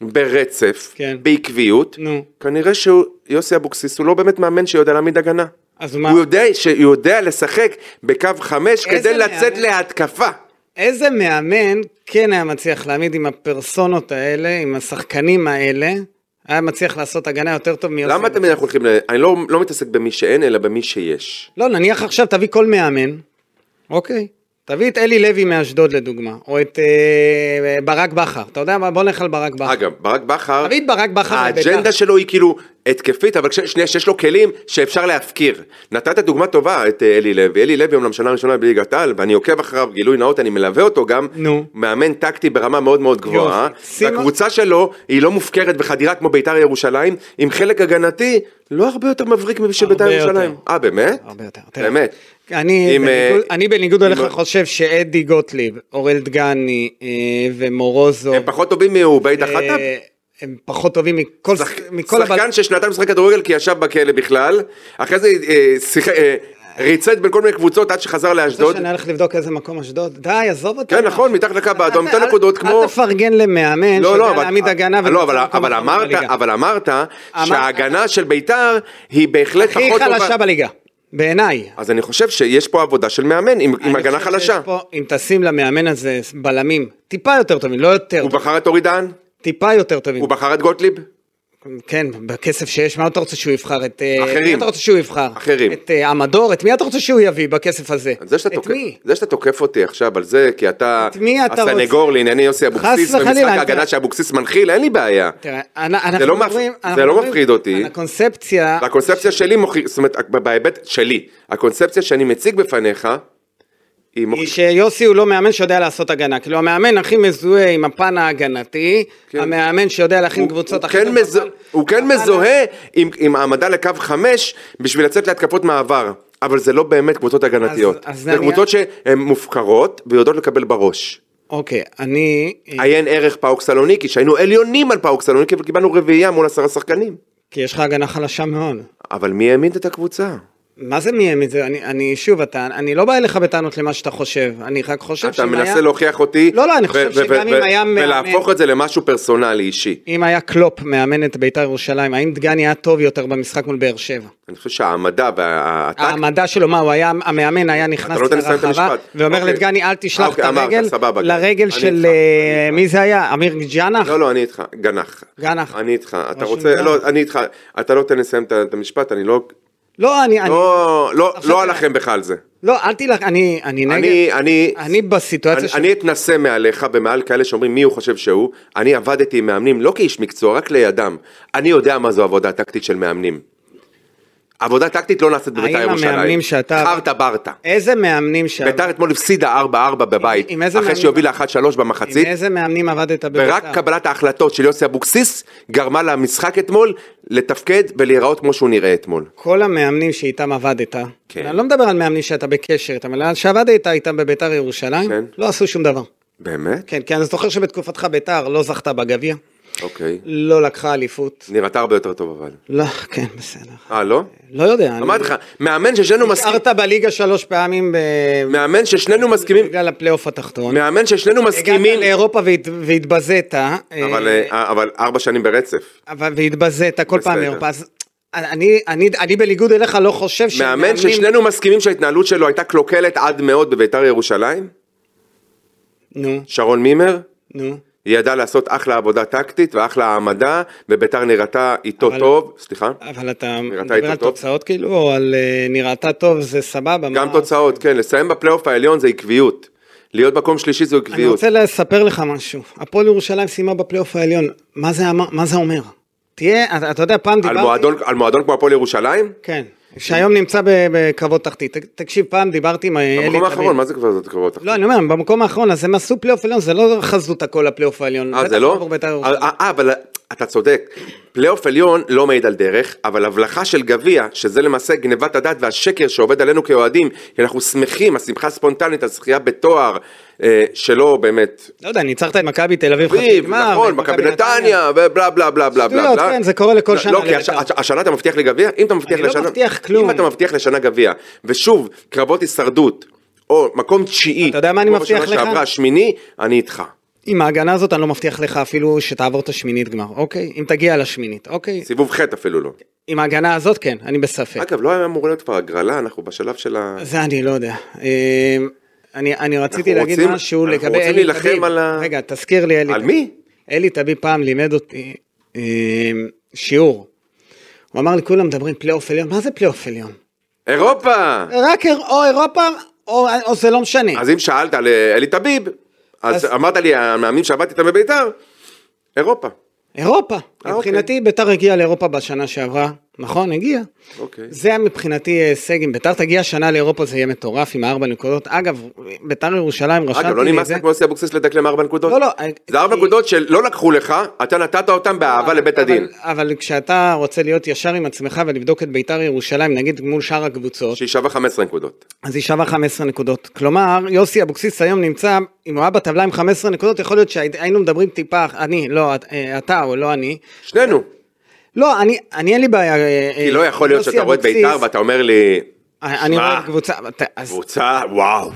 Speaker 3: ברצף,
Speaker 2: כן.
Speaker 3: בעקביות,
Speaker 2: נו.
Speaker 3: כנראה שיוסי אבוקסיס הוא לא באמת מאמן שיודע להעמיד הגנה.
Speaker 2: אז מה?
Speaker 3: הוא יודע, שהוא יודע לשחק בקו חמש
Speaker 2: איזה
Speaker 3: כדי לצאת
Speaker 2: מאמן?
Speaker 3: להתקפה.
Speaker 2: איזה מאמן כן היה מצליח להעמיד עם הפרסונות האלה, עם השחקנים האלה, היה מצליח לעשות הגנה יותר טוב מיוסי?
Speaker 3: למה תמיד אנחנו הולכים ל... אני לא, לא מתעסק במי שאין, אלא במי שיש.
Speaker 2: לא, נניח עכשיו תביא כל מאמן, אוקיי. תביא את אלי לוי מאשדוד לדוגמה, או את אה, ברק בכר. אתה יודע מה? בוא נלך על ברק בכר.
Speaker 3: אגב, ברק בכר,
Speaker 2: תביא את ברק בכר לבית"ר.
Speaker 3: האג'נדה שלו היא כאילו התקפית, אבל כש- שנייה, שיש לו כלים שאפשר להפקיר. נתת דוגמה טובה את אה, אלי לוי. אלי לוי אומנם שנה ראשונה בליגת העל, ואני עוקב אחריו, גילוי נאות, אני מלווה אותו גם.
Speaker 2: נו.
Speaker 3: מאמן טקטי ברמה מאוד מאוד גבוהה.
Speaker 2: יופי. סימה-
Speaker 3: והקבוצה שלו היא לא מופקרת בחדירה כמו בית"ר ירושלים, עם חלק הגנתי לא הרבה יותר מבריק משל בית"ר
Speaker 2: הרבה יותר.
Speaker 3: ירושלים. אה, באמת?
Speaker 2: הרבה יותר. תראה,
Speaker 3: באמת.
Speaker 2: אני,
Speaker 3: אם,
Speaker 2: בניגוד,
Speaker 3: אה,
Speaker 2: אני בניגוד
Speaker 3: אם-
Speaker 2: אליך חושב שאדי גוטליב, אורל דגני אה, ומורוזוב,
Speaker 3: הם פחות טובים מעובייד
Speaker 2: אה,
Speaker 3: החטאב?
Speaker 2: הם פחות טובים מכל,
Speaker 3: שחק-
Speaker 2: מכל
Speaker 3: שחקן ששנתיים משחק כדורגל כי ישב בכלא בכלל, אחרי זה אה, שיח- אה, ריצת בין כל מיני קבוצות עד שחזר
Speaker 2: רוצה
Speaker 3: לאשדוד.
Speaker 2: שאני הולך לבדוק איזה מקום אשדוד? די, עזוב אותי.
Speaker 3: כן, נכון, מתחת לקו האדום,
Speaker 2: אל-
Speaker 3: תן
Speaker 2: אל-
Speaker 3: נקודות כמו...
Speaker 2: אל תפרגן למאמן
Speaker 3: לא, לא,
Speaker 2: שיודע
Speaker 3: אבל-
Speaker 2: להעמיד הגנה.
Speaker 3: לא, אבל-
Speaker 2: ולמצוא
Speaker 3: אבל
Speaker 2: מקום
Speaker 3: אמרת,
Speaker 2: בליגה.
Speaker 3: אבל אמרת שההגנה של ביתר היא בהחלט
Speaker 2: הכי
Speaker 3: פחות
Speaker 2: חלשה
Speaker 3: טובה.
Speaker 2: בליגה, בעיניי.
Speaker 3: אז אני חושב שיש פה עבודה של מאמן עם- עם
Speaker 2: אני
Speaker 3: הגנה
Speaker 2: חושב
Speaker 3: חלשה.
Speaker 2: שיש פה, אם תשים למאמן הזה בלמים טיפה יותר טובים, לא יותר,
Speaker 3: הוא
Speaker 2: טובים,
Speaker 3: בחר את אורי דהן?
Speaker 2: טיפה יותר טובים.
Speaker 3: הוא בחר את גוטליב?
Speaker 2: כן, בכסף שיש, מה אתה רוצה שהוא יבחר? את אה,
Speaker 3: אחרים.
Speaker 2: מי אתה רוצה שהוא יבחר?
Speaker 3: אחרים.
Speaker 2: את אה, עמדור? את מי אתה רוצה שהוא יביא בכסף הזה?
Speaker 3: זה שאתה,
Speaker 2: את
Speaker 3: תוקף,
Speaker 2: מי?
Speaker 3: זה שאתה תוקף אותי עכשיו על זה, כי אתה,
Speaker 2: את מי אתה
Speaker 3: הסנגור
Speaker 2: רוצה?
Speaker 3: לענייני יוסי אבוקסיס,
Speaker 2: וחלילה,
Speaker 3: במשחק
Speaker 2: אני-
Speaker 3: ההגנה שאבוקסיס מנחיל, אין לי בעיה.
Speaker 2: תראה, אנ- אנחנו
Speaker 3: לא מפ-
Speaker 2: מדברים-
Speaker 3: זה
Speaker 2: אנחנו
Speaker 3: לא
Speaker 2: מדברים
Speaker 3: מפחיד אותי.
Speaker 2: על הקונספציה,
Speaker 3: והקונספציה שלי מוכיח, זאת אומרת, בהיבט שלי, הקונספציה שאני מציג בפניך, היא
Speaker 2: היא
Speaker 3: מוכיחה,
Speaker 2: שיוסי הוא לא מאמן שיודע לעשות הגנה. כאילו המאמן הכי מזוהה עם הפן ההגנתי,
Speaker 3: כן.
Speaker 2: המאמן שיודע להכין
Speaker 3: הוא,
Speaker 2: קבוצות
Speaker 3: הוא,
Speaker 2: הכי
Speaker 3: כן
Speaker 2: טוב
Speaker 3: מזו...
Speaker 2: בפן-
Speaker 3: הוא כן
Speaker 2: בפן-
Speaker 3: מזוהה עם, עם העמדה לקו חמש בשביל לצאת להתקפות מעבר, אבל זה לא באמת קבוצות הגנתיות,
Speaker 2: אז
Speaker 3: זה
Speaker 2: אני-
Speaker 3: קבוצות שהן מופקרות ויודעות לקבל בראש.
Speaker 2: אוקיי, אני...
Speaker 3: עיין ערך פאוק סלוניקי, שהיינו עליונים על פאוק סלוניקי וקיבלנו רביעייה מול עשרה שחקנים,
Speaker 2: כי יש לך הגנה חלשה מאוד.
Speaker 3: אבל מי העמיד את הקבוצה?
Speaker 2: מה זה מי הם את זה? אני, אני שוב, אתה, אני לא בא אליך בטענות למה שאתה חושב, אני רק חושב
Speaker 3: אתה
Speaker 2: שאם
Speaker 3: מנסה
Speaker 2: היה-
Speaker 3: להוכיח אותי,
Speaker 2: לא, לא, אני חושב
Speaker 3: ו- ו-
Speaker 2: שגם
Speaker 3: ו-
Speaker 2: אם
Speaker 3: ו-
Speaker 2: היה מאמן-
Speaker 3: ולהפוך את זה למשהו פרסונלי אישי.
Speaker 2: אם היה קלופ מאמן את בית"ר ירושלים, האם דגני היה טוב יותר במשחק מול באר שבע?
Speaker 3: אני חושב שהעמדה והטקט
Speaker 2: העמדה שלו, מה, הוא היה, המאמן היה נכנס
Speaker 3: אתה לא נותן לסיים את
Speaker 2: לרחבה,
Speaker 3: המשפט.
Speaker 2: ואומר
Speaker 3: אוקיי.
Speaker 2: לדגני, אל תשלח
Speaker 3: אוקיי,
Speaker 2: את
Speaker 3: אמרת,
Speaker 2: הרגל,
Speaker 3: סבבה, גל.
Speaker 2: לרגל
Speaker 3: אני
Speaker 2: של,
Speaker 3: איתך,
Speaker 2: אה,
Speaker 3: אני איתך.
Speaker 2: מי זה היה? אמיר ג'אנח?
Speaker 3: לא, לא, אני איתך, גנח.
Speaker 2: גנח.
Speaker 3: אני איתך, אתה
Speaker 2: ראש
Speaker 3: רוצה,
Speaker 2: עמדה.
Speaker 3: לא, אני איתך, אתה לא תן לסיים את ה- את המשפט, אני לא,
Speaker 2: לא, אני, אני-
Speaker 3: לא, לא,
Speaker 2: עכשיו
Speaker 3: לא
Speaker 2: תראה.
Speaker 3: אלחם בך על זה.
Speaker 2: לא, אל תלך, אני, אני נגד,
Speaker 3: אני, אני,
Speaker 2: אני בסיטואציה
Speaker 3: אני- אני אתנסה מעליך ומעל כאלה שאומרים מי הוא חושב שהוא, אני עבדתי עם מאמנים לא כאיש מקצוע, רק לידם. אני יודע מה זו עבודה טקטית של מאמנים. עבודה טקטית לא נעשית בבית"ר
Speaker 2: האם
Speaker 3: ירושלים.
Speaker 2: המאמנים שאתה-
Speaker 3: חרטה ברטה.
Speaker 2: איזה מאמנים שם,
Speaker 3: בית"ר אתמול הפסידה 4-4 בבית,
Speaker 2: עם איזה
Speaker 3: אחרי
Speaker 2: מאמנים-
Speaker 3: שהובילה 1-3
Speaker 2: עם
Speaker 3: במחצית.
Speaker 2: איזה מאמנים עבדת בבית"ר?
Speaker 3: ורק קבלת ההחלטות של יוסי אבוקסיס גרמה למשחק אתמול לתפקד ולהיראות כמו שהוא נראה אתמול.
Speaker 2: כל המאמנים שאיתם עבדת,
Speaker 3: כן.
Speaker 2: אני לא מדבר על מאמנים שאתה בקשר איתם, אלא שעבדת איתם בביתר ירושלים,
Speaker 3: כן.
Speaker 2: לא עשו שום דבר.
Speaker 3: באמת?
Speaker 2: כן, כי אני זוכר שבתקופתך ביתר לא זכתה בגביע,
Speaker 3: אוקיי.
Speaker 2: לא לקחה אליפות.
Speaker 3: נראתה הרבה יותר טוב אבל.
Speaker 2: לא, כן, בסדר.
Speaker 3: אה, לא?
Speaker 2: לא יודע.
Speaker 3: אמרתי לך, מאמן ששנינו מסכימים,
Speaker 2: נשארת בליגה שלוש פעמים ב-
Speaker 3: מאמן ששנינו מסכימים,
Speaker 2: בגלל הפלייאוף התחתון.
Speaker 3: מאמן ששנינו
Speaker 2: הגעת
Speaker 3: מסכימים,
Speaker 2: לאירופה והת- והתבזית.
Speaker 3: אבל,
Speaker 2: אה,
Speaker 3: אה, אבל ארבע שנים ברצף.
Speaker 2: אבל- והתבזית כל פעם
Speaker 3: בסדר.
Speaker 2: לאירופה. אז אני, אני, אני בניגוד אליך לא חושב
Speaker 3: מאמן ששנינו מסכימים שההתנהלות שלו הייתה קלוקלת עד מאוד בביתר ירושלים?
Speaker 2: נו,
Speaker 3: שרון מימר?
Speaker 2: נו.
Speaker 3: היא ידעה לעשות אחלה עבודה טקטית ואחלה העמדה, וביתר נראתה איתו
Speaker 2: אבל-
Speaker 3: טוב, סליחה?
Speaker 2: אבל אתה
Speaker 3: איתו
Speaker 2: מדבר על
Speaker 3: טוב?
Speaker 2: תוצאות כאילו, או על אה, נראתה טוב, זה סבבה.
Speaker 3: גם
Speaker 2: מה-
Speaker 3: תוצאות, כן, לסיים בפלייאוף העליון זה עקביות. להיות מקום שלישי זו
Speaker 2: אני
Speaker 3: עקביות.
Speaker 2: רוצה לספר לך משהו. הפועל ירושלים סיימה בפלייאוף העליון. מה זה אמר- מה זה אומר? תהיה, אתה- אתה יודע, פעם
Speaker 3: על
Speaker 2: דיברתי...
Speaker 3: מועדון- על מועדון כמו הפועל ירושלים?
Speaker 2: כן, שהיום נמצא ב- בקרבות תחתית. ת- תקשיב, פעם דיברתי עם אה, אלי
Speaker 3: במקום האחרון,
Speaker 2: תמיד.
Speaker 3: מה זה כבר זאת קרבות?
Speaker 2: לא, אני אומר, במקום האחרון, אז הם עשו פלייאוף עליון, זה לא חזות הכל הפלייאוף העליון.
Speaker 3: אה,
Speaker 2: בטח
Speaker 3: זה לא?
Speaker 2: עבור בית"ר
Speaker 3: אה,
Speaker 2: ירושלים.
Speaker 3: אה, אה, אבל אתה צודק. פלייאוף עליון לא מעיד על דרך, אבל הבלחה של גביע, שזה למעשה גנבת הדעת והשקר שעובד עלינו כאוהדים, כי אנחנו שמחים, השמחה הספונטנית, הזכייה בתואר, אה, שלא באמת.
Speaker 2: לא יודע, ניצחת את מכבי תל אביב חצי
Speaker 3: ריב,
Speaker 2: גמר,
Speaker 3: אה, נכון,
Speaker 2: ואת
Speaker 3: מכבי נתניה, ובלה בלה בלה בלה בלה.
Speaker 2: שטויות,
Speaker 3: בלה.
Speaker 2: כן, זה קורה לכל
Speaker 3: לא,
Speaker 2: שנה
Speaker 3: לא, כי
Speaker 2: לבית"ר.
Speaker 3: הש- הש- השנה אתה מבטיח לי גביע? אם אתה מבטיח
Speaker 2: אני לא
Speaker 3: לשנה...
Speaker 2: מבטיח כלום.
Speaker 3: אם אתה מבטיח לשנה גביע, ושוב, קרבות הישרדות, או מקום תשיעי,
Speaker 2: אתה יודע מה אני
Speaker 3: כמו
Speaker 2: מבטיח
Speaker 3: בשנה
Speaker 2: לך?
Speaker 3: שעברה, שמיני, אני איתך.
Speaker 2: עם ההגנה הזאת אני לא מבטיח לך אפילו שתעבור את השמינית גמר, אוקיי? אם תגיע לשמינית, אוקיי?
Speaker 3: סיבוב ח' אפילו לא.
Speaker 2: עם ההגנה הזאת כן, אני בספק.
Speaker 3: אגב, לא היה אמור להיות כבר הגרלה, אנחנו בשלב של ה...
Speaker 2: זה אני לא יודע. אמ, אני, אני רציתי
Speaker 3: אנחנו
Speaker 2: להגיד
Speaker 3: רוצים-
Speaker 2: משהו
Speaker 3: אנחנו
Speaker 2: לגבי
Speaker 3: רוצים
Speaker 2: אלי
Speaker 3: להילחם
Speaker 2: טביב.
Speaker 3: על ה-
Speaker 2: רגע, תזכיר לי אלי.
Speaker 3: על
Speaker 2: טביב.
Speaker 3: מי?
Speaker 2: אלי טביב פעם לימד אותי אמ, שיעור. הוא אמר לי, כולם מדברים פלייאוף עליון, מה זה פלייאוף עליון?
Speaker 3: אירופה!
Speaker 2: רק איר- או אירופה, או, או זה לא משנה.
Speaker 3: אז אם שאלת על אה, אלי טביב, אז
Speaker 2: אז-
Speaker 3: אמרת לי, המאמנים שעבדתי איתם בביתר, אירופה.
Speaker 2: אירופה.
Speaker 3: אוקיי.
Speaker 2: מבחינתי, ביתר הגיעה לאירופה בשנה שעברה. נכון, הגיעה.
Speaker 3: אוקיי.
Speaker 2: זה היה מבחינתי הישג, אם ביתר תגיע שנה לאירופה זה יהיה מטורף עם הארבע נקודות. אגב, ביתר ירושלים רשמתי לי
Speaker 3: אגב,
Speaker 2: את
Speaker 3: לא
Speaker 2: זה.
Speaker 3: נמאס לך כמו יוסי אבוקסיס לדקלם ארבע נקודות?
Speaker 2: לא, לא.
Speaker 3: זה ארבע
Speaker 2: כי- אה,
Speaker 3: נקודות שלא לקחו לך, אתה נתת אותם באהבה לבית
Speaker 2: אבל-
Speaker 3: הדין.
Speaker 2: אבל כשאתה רוצה להיות ישר עם עצמך ולבדוק את ביתר ירושלים, נגיד מול שאר הקבוצות,
Speaker 3: שהיא שווה 15 נקודות.
Speaker 2: אז היא שווה 15 נקודות. כלומר, יוסי אבוקסיס היום נמצא, אם הוא היה בטבלה עם 15 נקודות, יכול להיות שהיינו מדברים טיפה, אני, לא, את- אה, אתה או לא אני.
Speaker 3: שנינו.
Speaker 2: לא, אני, אני אין לי בעיה. אה,
Speaker 3: כי
Speaker 2: אה,
Speaker 3: לא יכול להיות
Speaker 2: יוסי
Speaker 3: שאתה רואה את
Speaker 2: אבוקסיס- אה,
Speaker 3: ביתר ואתה אומר לי,
Speaker 2: אני רואה
Speaker 3: שמע,
Speaker 2: קבוצה, אז
Speaker 3: קבוצה, וואו.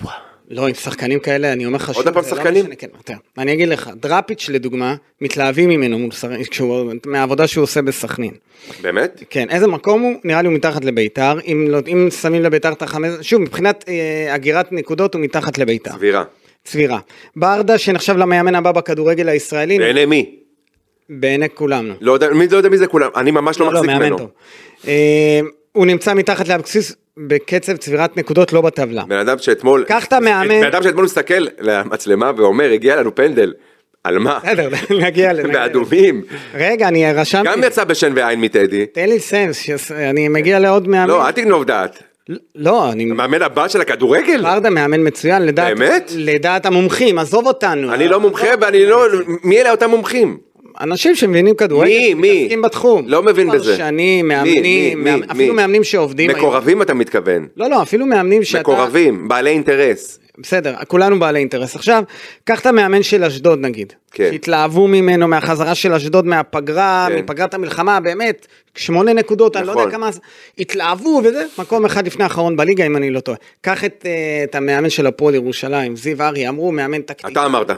Speaker 2: לא, עם שחקנים כאלה, אני אומר לך שוב,
Speaker 3: פעם
Speaker 2: זה לא
Speaker 3: שחקנים?
Speaker 2: משנה, כן, יותר. אני אגיד לך, דראפיץ' לדוגמה, מתלהבים ממנו מול שחקנים, כשהוא- מהעבודה שהוא עושה בסכנין.
Speaker 3: באמת?
Speaker 2: כן, איזה מקום הוא? נראה לי הוא מתחת לביתר, אם, לא, אם שמים לביתר את החמש, שוב, מבחינת אה, אגירת נקודות הוא מתחת לביתר,
Speaker 3: סבירה.
Speaker 2: צבירה. ברדה שנחשב למאמן הבא בכדורגל הישראלי,
Speaker 3: בעיני מי?
Speaker 2: בעיני כולנו.
Speaker 3: לא יודע, מי לא יודע מי זה כולם, אני ממש לא מחזיק
Speaker 2: מאמן
Speaker 3: ממנו.
Speaker 2: טוב. אה, הוא נמצא מתחת לאבקסיס בקצב צבירת נקודות לא בטבלה.
Speaker 3: בן אדם שאתמול,
Speaker 2: קח את המאמן.
Speaker 3: בן אדם שאתמול מסתכל למצלמה ואומר, הגיע לנו פנדל, על מה?
Speaker 2: בסדר, נגיע לזה.
Speaker 3: באדומים.
Speaker 2: רגע, אני רשמתי.
Speaker 3: גם יצא בשן ועין מטדי.
Speaker 2: תן לי לסיים, ש- אני מגיע לעוד מאמן.
Speaker 3: לא, אל תגנוב דעת.
Speaker 2: לא, אני...
Speaker 3: המאמן הבא של הכדורגל?
Speaker 2: ברדה מאמן מצוין, לדעת...
Speaker 3: באמת?
Speaker 2: לדעת המומחים, עזוב אותנו.
Speaker 3: אני לא מומחה ואני לא... מי אלה אותם מומחים?
Speaker 2: אנשים שמבינים כדורגל,
Speaker 3: מי? מי?
Speaker 2: מתעסקים בתחום.
Speaker 3: לא מבין בזה.
Speaker 2: פרשנים,
Speaker 3: מי?
Speaker 2: מאמנים,
Speaker 3: מי?
Speaker 2: מאמ-
Speaker 3: מי?
Speaker 2: אפילו
Speaker 3: מי?
Speaker 2: מאמנים שעובדים. היום.
Speaker 3: מקורבים אתה מתכוון.
Speaker 2: לא, לא, אפילו מאמנים שאתה...
Speaker 3: מקורבים, בעלי אינטרס.
Speaker 2: בסדר, כולנו בעלי אינטרס. עכשיו, קח את המאמן של אשדוד נגיד.
Speaker 3: כן.
Speaker 2: שהתלהבו ממנו מהחזרה של אשדוד מהפגרה,
Speaker 3: כן.
Speaker 2: מפגרת המלחמה, באמת, שמונה נקודות, אני לא
Speaker 3: נכון.
Speaker 2: יודע כמה... אז התלהבו וזה, מקום אחד לפני האחרון בליגה, אם אני לא טועה. קח את, אה, את המאמן של הפועל ירושלים, זיו אריה, אמרו, מאמן טקטי.
Speaker 3: אתה אמרת.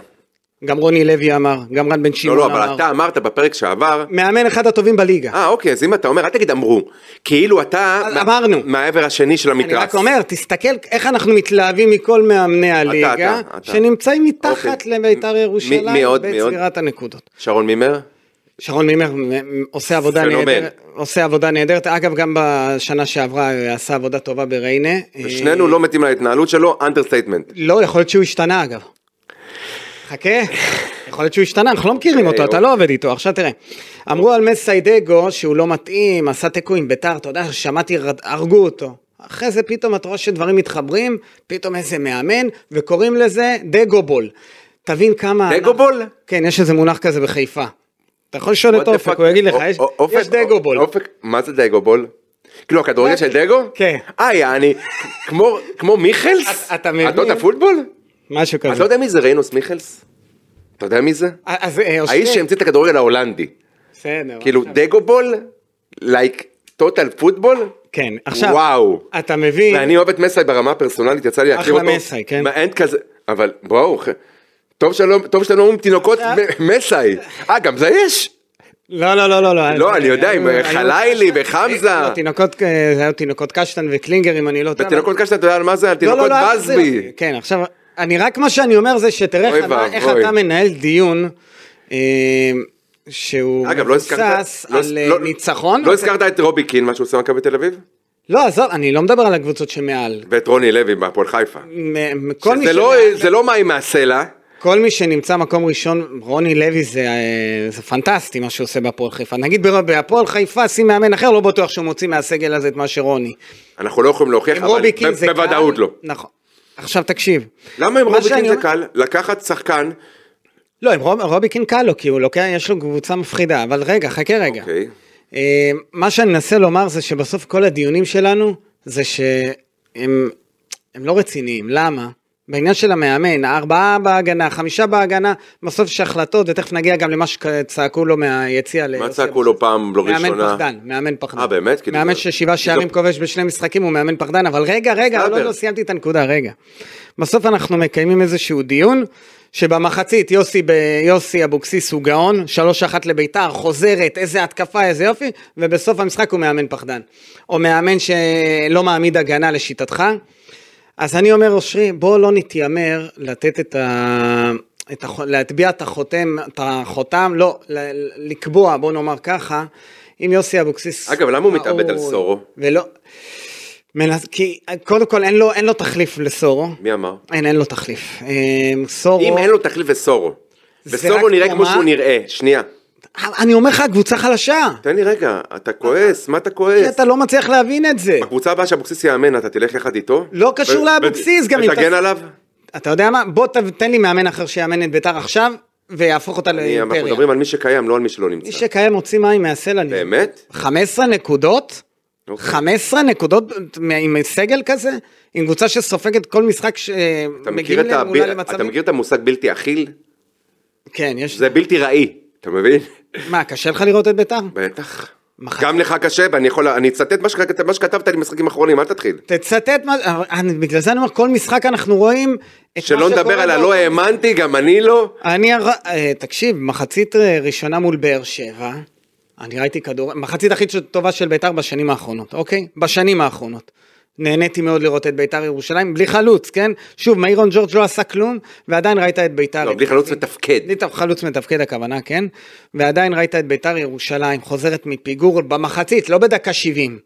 Speaker 2: גם רוני לוי אמר, גם רן בן
Speaker 3: לא,
Speaker 2: שמעון
Speaker 3: לא,
Speaker 2: אמר.
Speaker 3: אבל אתה אמרת בפרק שעבר...
Speaker 2: מאמן אחד הטובים בליגה.
Speaker 3: אה, אוקיי, אז אם אתה אומר, אל תגיד אמרו. כאילו אתה...
Speaker 2: אז
Speaker 3: מה-
Speaker 2: אמרנו.
Speaker 3: מהעבר השני של
Speaker 2: אני
Speaker 3: המתרס.
Speaker 2: רק אומר, תסתכל איך אנחנו מתלהבים מכל מאמני הליגה,
Speaker 3: אתה, אתה.
Speaker 2: שנמצאים מתחת
Speaker 3: אוקיי.
Speaker 2: לביתר
Speaker 3: מי- מי
Speaker 2: ירושלים,
Speaker 3: עוד? מי עוד?
Speaker 2: בצבירת הנקודות.
Speaker 3: שרון מימר?
Speaker 2: שרון מימר מ- עושה עבודה
Speaker 3: פנומן.
Speaker 2: נהדרת, עושה עבודה נהדרת, אגב גם בשנה שעברה אה, עשה עבודה טובה בריינה.
Speaker 3: ושנינו
Speaker 2: אה,
Speaker 3: לא מתים להתנהלות שלו, אנדרסטייטמנט.
Speaker 2: לא, יכול להיות שהוא השתנה אגב. חכה, יכול להיות שהוא השתנה, אנחנו לא מכירים אותו, אתה לא עובד איתו, עכשיו תראה. אמרו על מסיידגו שהוא לא מתאים, עשה תיקו עם ביתר, אתה יודע, שמעתי, רד- הרגו אותו. אחרי זה פתאום אתה רואה שדברים מתחברים, פתאום איזה מאמן, וקוראים לזה דגובול. תבין כמה...
Speaker 3: דגובול?
Speaker 2: כן, יש איזה מונח כזה בחיפה. אתה יכול לשאול את אופק, הוא יגיד לך, יש- יש דגובול.
Speaker 3: אופק, מה זה דגובול? כאילו הכדורגל של דגו?
Speaker 2: כן.
Speaker 3: אה, יעני, כמו- כמו מיכלס?
Speaker 2: אתה- אתה מבין?
Speaker 3: את לא יודעת פוטבול?
Speaker 2: משהו
Speaker 3: אתה לא
Speaker 2: כזה.
Speaker 3: יודע מי זה ריינוס מיכלס? אתה יודע מי זה?
Speaker 2: אז אה, אושרי-
Speaker 3: האיש שהמציא את הכדורגל ההולנדי.
Speaker 2: בסדר.
Speaker 3: כאילו דגובול, לייק טוטל פוטבול,
Speaker 2: כן, עכשיו,
Speaker 3: וואו.
Speaker 2: אתה מבין,
Speaker 3: ואני אוהב את מסי ברמה הפרסונלית, יצא לי להכיר אותו.
Speaker 2: אחלה מסי, כן.
Speaker 3: מה, אין כזה, אבל בואו, ח- טוב שלא- טוב שאתם לא אומרים תינוקות מ- מסי. אה, גם זה יש?
Speaker 2: לא, לא, לא, לא.
Speaker 3: לא, אני יודע, עם
Speaker 2: היו-
Speaker 3: חלילי
Speaker 2: היו-
Speaker 3: וחמזה.
Speaker 2: לא, תינוקות, אה, זה היו תינוקות קשטן וקלינגר, אם אני לא טועה.
Speaker 3: בתינוקות קשת, אתה יודע על מה זה? על
Speaker 2: לא, לא,
Speaker 3: תינוקות
Speaker 2: לא, אל תחזיר
Speaker 3: בסבי.
Speaker 2: אותי. כן, עכשיו, אני רק מה שאני אומר זה שתראה
Speaker 3: אוי
Speaker 2: איך אתה-
Speaker 3: ואבוי.
Speaker 2: איך אתה מנהל דיון. אה, שהוא
Speaker 3: אגב, לא הזכרת...
Speaker 2: מבוסס
Speaker 3: לא-
Speaker 2: על אה,
Speaker 3: לא-
Speaker 2: ניצחון.
Speaker 3: לא הזכרת את רובי קין, מה שהוא עושה במכבי תל אביב?
Speaker 2: לא, עזוב, אני לא מדבר על הקבוצות שמעל.
Speaker 3: ואת רוני לוי בהפועל חיפה.
Speaker 2: מ- מ- כל מי
Speaker 3: זה לא-
Speaker 2: שמעל-
Speaker 3: זה לא מים מהסלע.
Speaker 2: כל מי שנמצא מקום ראשון, רוני לוי זה, אה, זה פנטסטי מה שהוא עושה בהפועל חיפה. נגיד בר- בהפועל חיפה, שים מאמן אחר, לא בטוח שהוא מוציא מהסגל הזה את מה שרוני.
Speaker 3: אנחנו לא יכולים להוכיח,
Speaker 2: עם
Speaker 3: אבל
Speaker 2: רובי קין
Speaker 3: ב-
Speaker 2: זה קל.
Speaker 3: בוודאות לא.
Speaker 2: נכון. עכשיו תקשיב.
Speaker 3: למה עם
Speaker 2: מה
Speaker 3: רובי
Speaker 2: שאני
Speaker 3: קין זה
Speaker 2: אומר-
Speaker 3: קל? לקחת שחקן,
Speaker 2: לא, עם רוב, רובי קין קל לו, כי הוא לוקח, יש לו קבוצה מפחידה. אבל רגע, חכה רגע.
Speaker 3: אוקיי,
Speaker 2: אה, מה שאני מנסה לומר זה שבסוף כל הדיונים שלנו זה שהם הם לא רציניים, למה? בעניין של המאמן, ארבעה בהגנה, חמישה בהגנה, בסוף יש החלטות, ותכף נגיע גם למה שצעקו לו מהיציע.
Speaker 3: מה
Speaker 2: ליוסי
Speaker 3: צעקו
Speaker 2: אבוקסיס.
Speaker 3: לו פעם לא
Speaker 2: מאמן
Speaker 3: ראשונה?
Speaker 2: פחדן, מאמן פחדן.
Speaker 3: אה, באמת? כאילו
Speaker 2: מאמן
Speaker 3: זה-
Speaker 2: ששבעה שערים
Speaker 3: זה-
Speaker 2: כובש בשני משחקים הוא מאמן פחדן, אבל רגע, רגע,
Speaker 3: סבבה.
Speaker 2: לא, לא סיימתי את הנקודה, רגע. בסוף אנחנו מקיימים איזשהו דיון, שבמחצית יוסי, ב... יוסי אבוקסיס הוא גאון, 3-1 לביתר, חוזרת, איזה התקפה, איזה יופי, ובסוף המשחק הוא מאמן פחדן. או מאמן שלא מעמיד הגנה לשיטתך. אז אני אומר, אושרי, בוא לא נתיימר לתת את ה... את הח... להטביע את החותם, את החותם, לא, ל... לקבוע, בוא נאמר ככה, אם יוסי אבוקסיס...
Speaker 3: אגב, למה הוא מתאבד על
Speaker 2: ראוי
Speaker 3: סורו?
Speaker 2: ולא... מנס... כי קודם כל אין לו, אין לו תחליף לסורו.
Speaker 3: מי אמר?
Speaker 2: אין, אין לו תחליף. אה, סורו...
Speaker 3: אם אין לו תחליף לסורו,
Speaker 2: זה
Speaker 3: וסורו
Speaker 2: רק
Speaker 3: נראה כמו
Speaker 2: תרומה.
Speaker 3: שהוא נראה, שנייה,
Speaker 2: אני אומר לך, הקבוצה חלשה.
Speaker 3: תן לי רגע, אתה כועס, מה אתה
Speaker 2: כי
Speaker 3: כועס?
Speaker 2: אתה לא מצליח להבין את זה.
Speaker 3: בקבוצה הבאה שאבוקסיס יאמן, אתה תלך יחד איתו?
Speaker 2: לא קשור
Speaker 3: ו-
Speaker 2: לאבוקסיס,
Speaker 3: ו-
Speaker 2: גם אם אתה-
Speaker 3: ותגן עליו?
Speaker 2: אתה יודע מה? בוא ת- תן לי מאמן אחר שיאמן את ביתר עכשיו, ויהפוך אותה
Speaker 3: אני- אנחנו
Speaker 2: לאימפריה.
Speaker 3: מדברים על מי שקיים, לא על מי שלא
Speaker 2: מי
Speaker 3: נמצא.
Speaker 2: שקיים מוציא מים מהסלע. אני-
Speaker 3: באמת?
Speaker 2: 15 נקודות?
Speaker 3: אוקיי.
Speaker 2: 15 נקודות עם סגל כזה? עם קבוצה שסופגת כל משחק
Speaker 3: אתה מכיר
Speaker 2: שמגיעים
Speaker 3: את ה-
Speaker 2: אולי למצבים?
Speaker 3: אתה מכיר את המושג בלתי אכיל?
Speaker 2: כן, יש...
Speaker 3: זה בלתי ראי, אתה מבין?
Speaker 2: מה, קשה לך לראות את ביתר?
Speaker 3: בטח.
Speaker 2: מחר.
Speaker 3: גם לך קשה, ואני יכול, אני אצטט מה שכ- מה שכתבת לי משחקים אחרונים, אל תתחיל.
Speaker 2: תצטט מה... אה, אני- בגלל זה אני אומר, כל משחק אנחנו רואים... את מה
Speaker 3: שלא
Speaker 2: שקורה
Speaker 3: נדבר על הלא
Speaker 2: באותו-
Speaker 3: האמנתי, גם אני לא.
Speaker 2: אני, הר- אה, תקשיב, מחצית אה, ראשונה מול באר שבע, אני ראיתי כדור, מחצית הכי טובה של ביתר בשנים האחרונות, אוקיי? בשנים האחרונות. נהניתי מאוד לראות את ביתר ירושלים, בלי חלוץ, כן? שוב, מאירון ג'ורג' לא עשה כלום, ועדיין ראית את ביתר.
Speaker 3: לא, בלי חלוץ מתפקד.
Speaker 2: בלי תו- חלוץ מתפקד הכוונה, כן? ועדיין ראית את ביתר ירושלים חוזרת מפיגור במחצית, לא בדקה 70.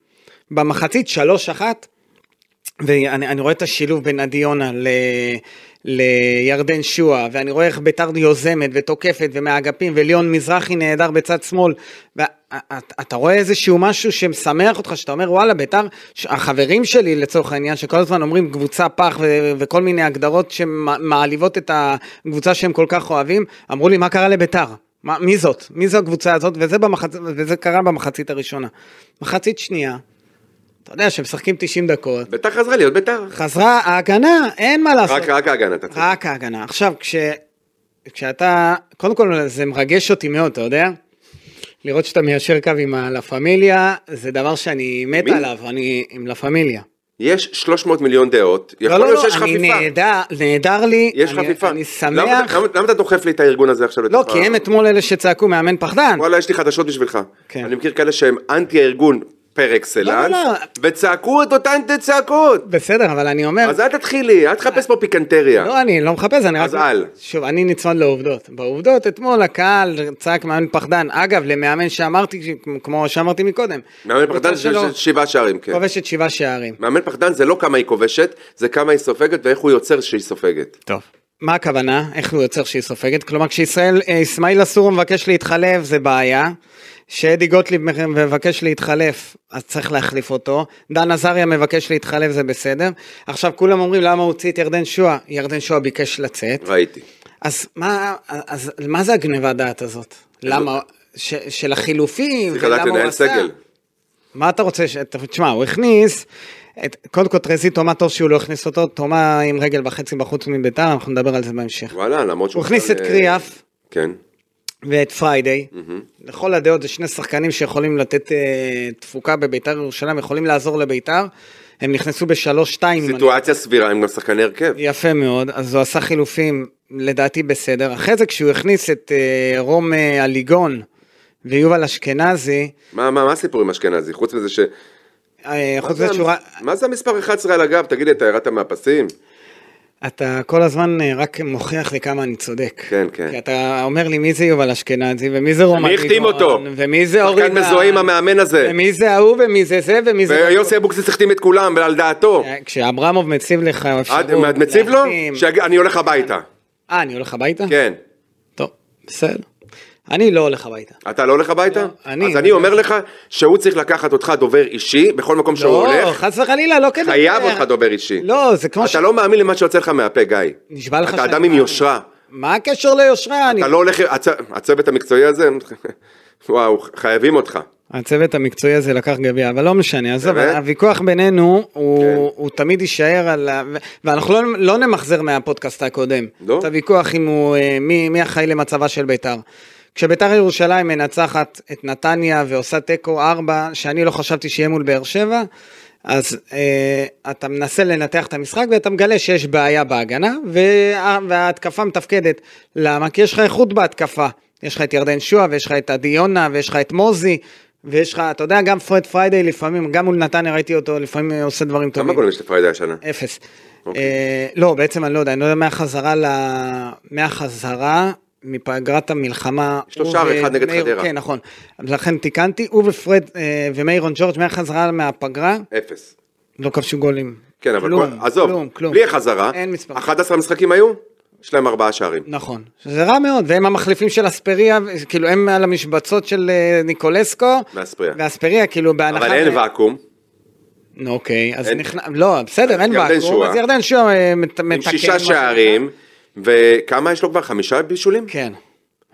Speaker 2: במחצית 3-1, ואני אני רואה את השילוב בין עדי יונה ל... לירדן שועה, ואני רואה איך ביתר יוזמת ותוקפת ומהאגפים, וליון מזרחי נהדר בצד שמאל. ואתה רואה איזשהו משהו שמשמח אותך, שאתה אומר וואלה ביתר, ש- החברים שלי לצורך העניין, שכל הזמן אומרים קבוצה פח ו- וכל מיני הגדרות שמעליבות את הקבוצה שהם כל כך אוהבים, אמרו לי מה קרה לביתר? מה, מי זאת? מי זו הקבוצה הזאת? וזה, במחצ... וזה קרה במחצית הראשונה. מחצית שנייה, אתה יודע שמשחקים 90 דקות,
Speaker 3: ביתר חזרה להיות ביתר.
Speaker 2: חזרה ההגנה, אין מה לעשות.
Speaker 3: רק רק ההגנה, אתה צודק.
Speaker 2: אה, רק ההגנה. עכשיו, כש... כשאתה, קודם כל זה מרגש אותי מאוד, אתה יודע? לראות שאתה מיישר קו עם הלה פמיליה, זה דבר שאני מת
Speaker 3: מי?
Speaker 2: עליו, אני עם לה פמיליה.
Speaker 3: יש 300 מיליון דעות, יכול
Speaker 2: לא,
Speaker 3: להיות
Speaker 2: לא, לא,
Speaker 3: שיש
Speaker 2: אני
Speaker 3: חפיפה.
Speaker 2: נהדר, נהדר לי,
Speaker 3: יש
Speaker 2: אני-
Speaker 3: חפיפה.
Speaker 2: אני
Speaker 3: למה אתה-
Speaker 2: שמח.
Speaker 3: למה- למה אתה דוחף לי את הארגון הזה עכשיו
Speaker 2: לא,
Speaker 3: לתוך
Speaker 2: כי
Speaker 3: ה-
Speaker 2: הם אתמול אלה שצעקו מאמן פחדן.
Speaker 3: וואלה, יש לי חדשות בשבילך.
Speaker 2: כן.
Speaker 3: אני מכיר כאלה שהם אנטי הארגון פר אקסלנס,
Speaker 2: לא, לא, לא.
Speaker 3: וצעקו את אותן צעקות.
Speaker 2: בסדר, אבל אני אומר,
Speaker 3: אז אל תתחילי, אל תחפש פה פיקנטריה.
Speaker 2: כן. לא, אני לא מחפש, אני רק...
Speaker 3: אז אל.
Speaker 2: שוב, אני נצמד לעובדות. בעובדות, אתמול הקהל צעק מאמן פחדן. אגב, למאמן שאמרתי, ש- כמו שאמרתי מקודם.
Speaker 3: מאמן
Speaker 2: הקבוצה
Speaker 3: פחדן
Speaker 2: שלו
Speaker 3: של שבעה שערים, כן.
Speaker 2: כובשת שבעה שערים.
Speaker 3: מאמן פחדן זה לא כמה היא כובשת, זה כמה היא סופגת ואיך הוא יוצר שהיא סופגת.
Speaker 2: טוב. מה הכוונה? איך הוא יוצר שהיא סופגת? כלומר, כשישראל, אה, אסמאעיל אסורו מבקש להתחלף, זה בעיה. שאדי גוטליב מ- מבקש להתחלף, אז צריך להחליף אותו. דן עזריה מבקש להתחלף, זה בסדר. עכשיו, כולם אומרים, למה הוא הוציא את ירדן שואה? ירדן שואה ביקש לצאת.
Speaker 3: ראיתי.
Speaker 2: כן, אז מה, אז מה זה הגניבת דעת הזאת? למה? ש, של החילופים,
Speaker 3: צריך לדעת
Speaker 2: ולמה הוא
Speaker 3: לנהל
Speaker 2: עשה?
Speaker 3: סגל.
Speaker 2: מה אתה רוצה? ש... תשמע, הוא הכניס, את... קודם כל טרזי תומה טוב שהוא לא הכניס אותו, תומה עם רגל וחצי בחוץ מביתר, אנחנו נדבר על זה בהמשך.
Speaker 3: וואלה, למרות שהוא...
Speaker 2: הוא הכניס
Speaker 3: בכלל,
Speaker 2: את
Speaker 3: אה,
Speaker 2: קריאף
Speaker 3: כן.
Speaker 2: ואת פריידיי, לכל הדעות זה שני שחקנים שיכולים לתת אה, תפוקה בביתר ירושלים, יכולים לעזור לביתר, הם נכנסו בשלוש-שתיים. אם אני לא
Speaker 3: סיטואציה סבירה, הם גם שחקני הרכב.
Speaker 2: יפה מאוד, אז הוא עשה חילופים, לדעתי בסדר. אחרי זה כשהוא הכניס את אה, רום אה, אליגון ויובל אשכנזי,
Speaker 3: מה, מה, מה הסיפור עם אשכנזי? חוץ מזה ש...
Speaker 2: אה,
Speaker 3: מה
Speaker 2: חוץ
Speaker 3: זה
Speaker 2: מזה שהוא...
Speaker 3: המ-
Speaker 2: ר-
Speaker 3: מה זה המספר 11 על הגב? תגיד לי, אתה ירדת מהפסים?
Speaker 2: אתה כל הזמן אה, רק מוכיח לי כמה אני צודק.
Speaker 3: כן, כן.
Speaker 2: כי אתה אומר לי מי זה יובל אשכנזי, ומי זה רומן
Speaker 3: מי החתים
Speaker 2: גילאון,
Speaker 3: אותו?
Speaker 2: ומי זה אורי
Speaker 3: שחקן מזוהה עם המאמן הזה.
Speaker 2: ומי זה ההוא, ומי זה זה, ומי זה...
Speaker 3: ויוסי אבוקסיס החתים את כולם, על דעתו.
Speaker 2: אה, כשאברמוב מציב לך אפשרות...
Speaker 3: את אה, את מציב לו?
Speaker 2: להחתים-
Speaker 3: שיגיד, אני הולך הביתה.
Speaker 2: אה, אני הולך הביתה?
Speaker 3: כן.
Speaker 2: טוב, בסדר. אני לא הולך הביתה.
Speaker 3: אתה לא הולך הביתה?
Speaker 2: לא, אני-
Speaker 3: אז אני אומר לך שהוא צריך לקחת אותך דובר אישי בכל מקום שהוא
Speaker 2: לא,
Speaker 3: הולך.
Speaker 2: חס וחלילה, לא כדי...
Speaker 3: חייב אותך דובר אישי.
Speaker 2: לא, זה כמו ש...
Speaker 3: אתה לא מאמין למה שיוצא לך מהפה, גיא.
Speaker 2: נשבע לך
Speaker 3: אתה
Speaker 2: שאני
Speaker 3: אדם עם
Speaker 2: מאמין.
Speaker 3: יושרה.
Speaker 2: מה הקשר ליושרה? אני...
Speaker 3: אתה לא הולך... הצ- הצוות המקצועי הזה, וואו, חייבים אותך.
Speaker 2: הצוות המקצועי הזה לקח גביע, אבל לא משנה, עזוב,
Speaker 3: באמת? כן.
Speaker 2: הוויכוח בינינו הוא, הוא תמיד יישאר על ה... ו- ואנחנו לא, לא נמחזר מהפודקאסט הקודם.
Speaker 3: לא?
Speaker 2: את הוויכוח אם הוא, אה, מי, מי אחראי למצבה של ביתר. כשביתר ירושלים מנצחת את נתניה ועושה תיקו 4, שאני לא חשבתי שיהיה מול באר שבע, אז אה, אתה מנסה לנתח את המשחק ואתה מגלה שיש בעיה בהגנה, וה, וההתקפה מתפקדת. למה? כי יש לך איכות בהתקפה. יש לך את ירדן שועה, ויש לך את עדי יונה, ויש לך את מוזי, ויש לך, אתה יודע, גם פרד פריידי לפעמים, גם מול נתניה ראיתי אותו לפעמים אה, עושה דברים טובים.
Speaker 3: כמה גולים יש לפריידי השנה?
Speaker 2: אפס.
Speaker 3: אוקיי.
Speaker 2: אה, לא, בעצם אני לא יודע, אני לא יודע מהחזרה ל... מהחזרה מפגרת המלחמה.
Speaker 3: יש לו
Speaker 2: הוא
Speaker 3: שער אחד נגד
Speaker 2: ומאיר-
Speaker 3: חדרה.
Speaker 2: כן, נכון. לכן תיקנתי, הוא ופרד אה, ומאירון ג'ורג' מהחזרה מהפגרה
Speaker 3: אפס.
Speaker 2: לא כבשו גולים.
Speaker 3: כן, אבל
Speaker 2: כלום,
Speaker 3: כל- עזוב,
Speaker 2: כלום, כלום.
Speaker 3: בלי החזרה,
Speaker 2: אין מספר.
Speaker 3: 11 משחקים היו, יש להם ארבעה שערים.
Speaker 2: נכון, שזה רע מאוד, והם המחליפים של אספריה, כאילו הם על המשבצות של אה, ניקולסקו.
Speaker 3: ואספריה.
Speaker 2: ואספריה, כאילו בהנחה...
Speaker 3: אבל אין ואקום,
Speaker 2: נו, אוקיי, אז
Speaker 3: אין-
Speaker 2: נכנס... לא, בסדר, אין
Speaker 3: ירדן
Speaker 2: ואקום.
Speaker 3: שועה.
Speaker 2: אז ירדן שועה אה, מת- מתקן.
Speaker 3: עם
Speaker 2: מה
Speaker 3: שישה
Speaker 2: שנקרא.
Speaker 3: שערים, וכמה יש לו כבר? חמישה בישולים?
Speaker 2: כן.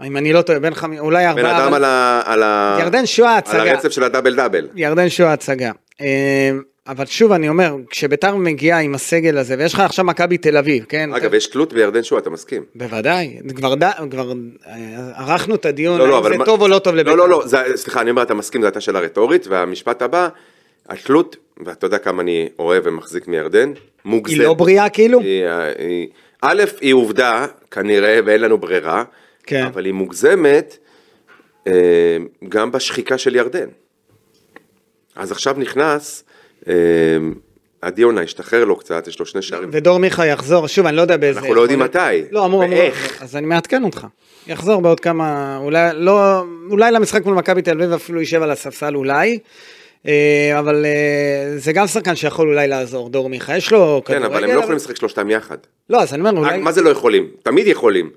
Speaker 2: אם אני לא טועה, בין חמ... אולי
Speaker 3: בן
Speaker 2: ארבעה.
Speaker 3: אדם
Speaker 2: אבל-
Speaker 3: על ה- על ה...
Speaker 2: ירדן שועה
Speaker 3: על
Speaker 2: הצגה. כן.
Speaker 3: הרצף של הדאבל דאבל.
Speaker 2: ירדן שועה הצגה. אה, אבל שוב אני אומר, כשביתר מגיעה עם הסגל הזה, ויש לך עכשיו מכבי תל אביב, כן?
Speaker 3: אגב, יש תלות בירדן שועה, אתה מסכים?
Speaker 2: בוודאי, כבר, ד... כבר אה, ערכנו את הדיון,
Speaker 3: לא, לא,
Speaker 2: האם
Speaker 3: אבל...
Speaker 2: זה
Speaker 3: מה-
Speaker 2: טוב או לא טוב לביתר.
Speaker 3: לא, לא, לא, זה- סליחה, אני אומר, אתה מסכים, זו הייתה שאלה רטורית, והמשפט הבא, התלות, ואתה יודע כמה אני אוהב ומחזיק מירדן, מוגזמת.
Speaker 2: היא לא בריאה כאילו?
Speaker 3: היא- אה, היא- א', היא עובדה, כנראה, ואין לנו ברירה,
Speaker 2: כן.
Speaker 3: אבל היא מוגזמת אה, גם בשחיקה של ירדן. אז עכשיו נכנס, אה, עדי יונה השתחרר לו קצת, יש לו שני שערים.
Speaker 2: ודור מיכה יחזור, שוב, אני לא יודע באיזה...
Speaker 3: אנחנו לא יודעים
Speaker 2: יכול להיות.
Speaker 3: מתי,
Speaker 2: לא, אמור, אמור.
Speaker 3: ואיך.
Speaker 2: לחזור. אז אני מעדכן אותך. יחזור בעוד כמה, אולי לא, אולי למשחק מול מכבי תל אביב אפילו יישב על הספסל אולי. אה, אבל אה, זה גם שחקן שיכול אולי לעזור, דור מיכה, יש לו
Speaker 3: כן, אבל הם לא יכולים לשחק שלושתם יחד.
Speaker 2: לא, אז אני אומר,
Speaker 3: רק
Speaker 2: אולי...
Speaker 3: מה זה לא יכולים? תמיד יכולים.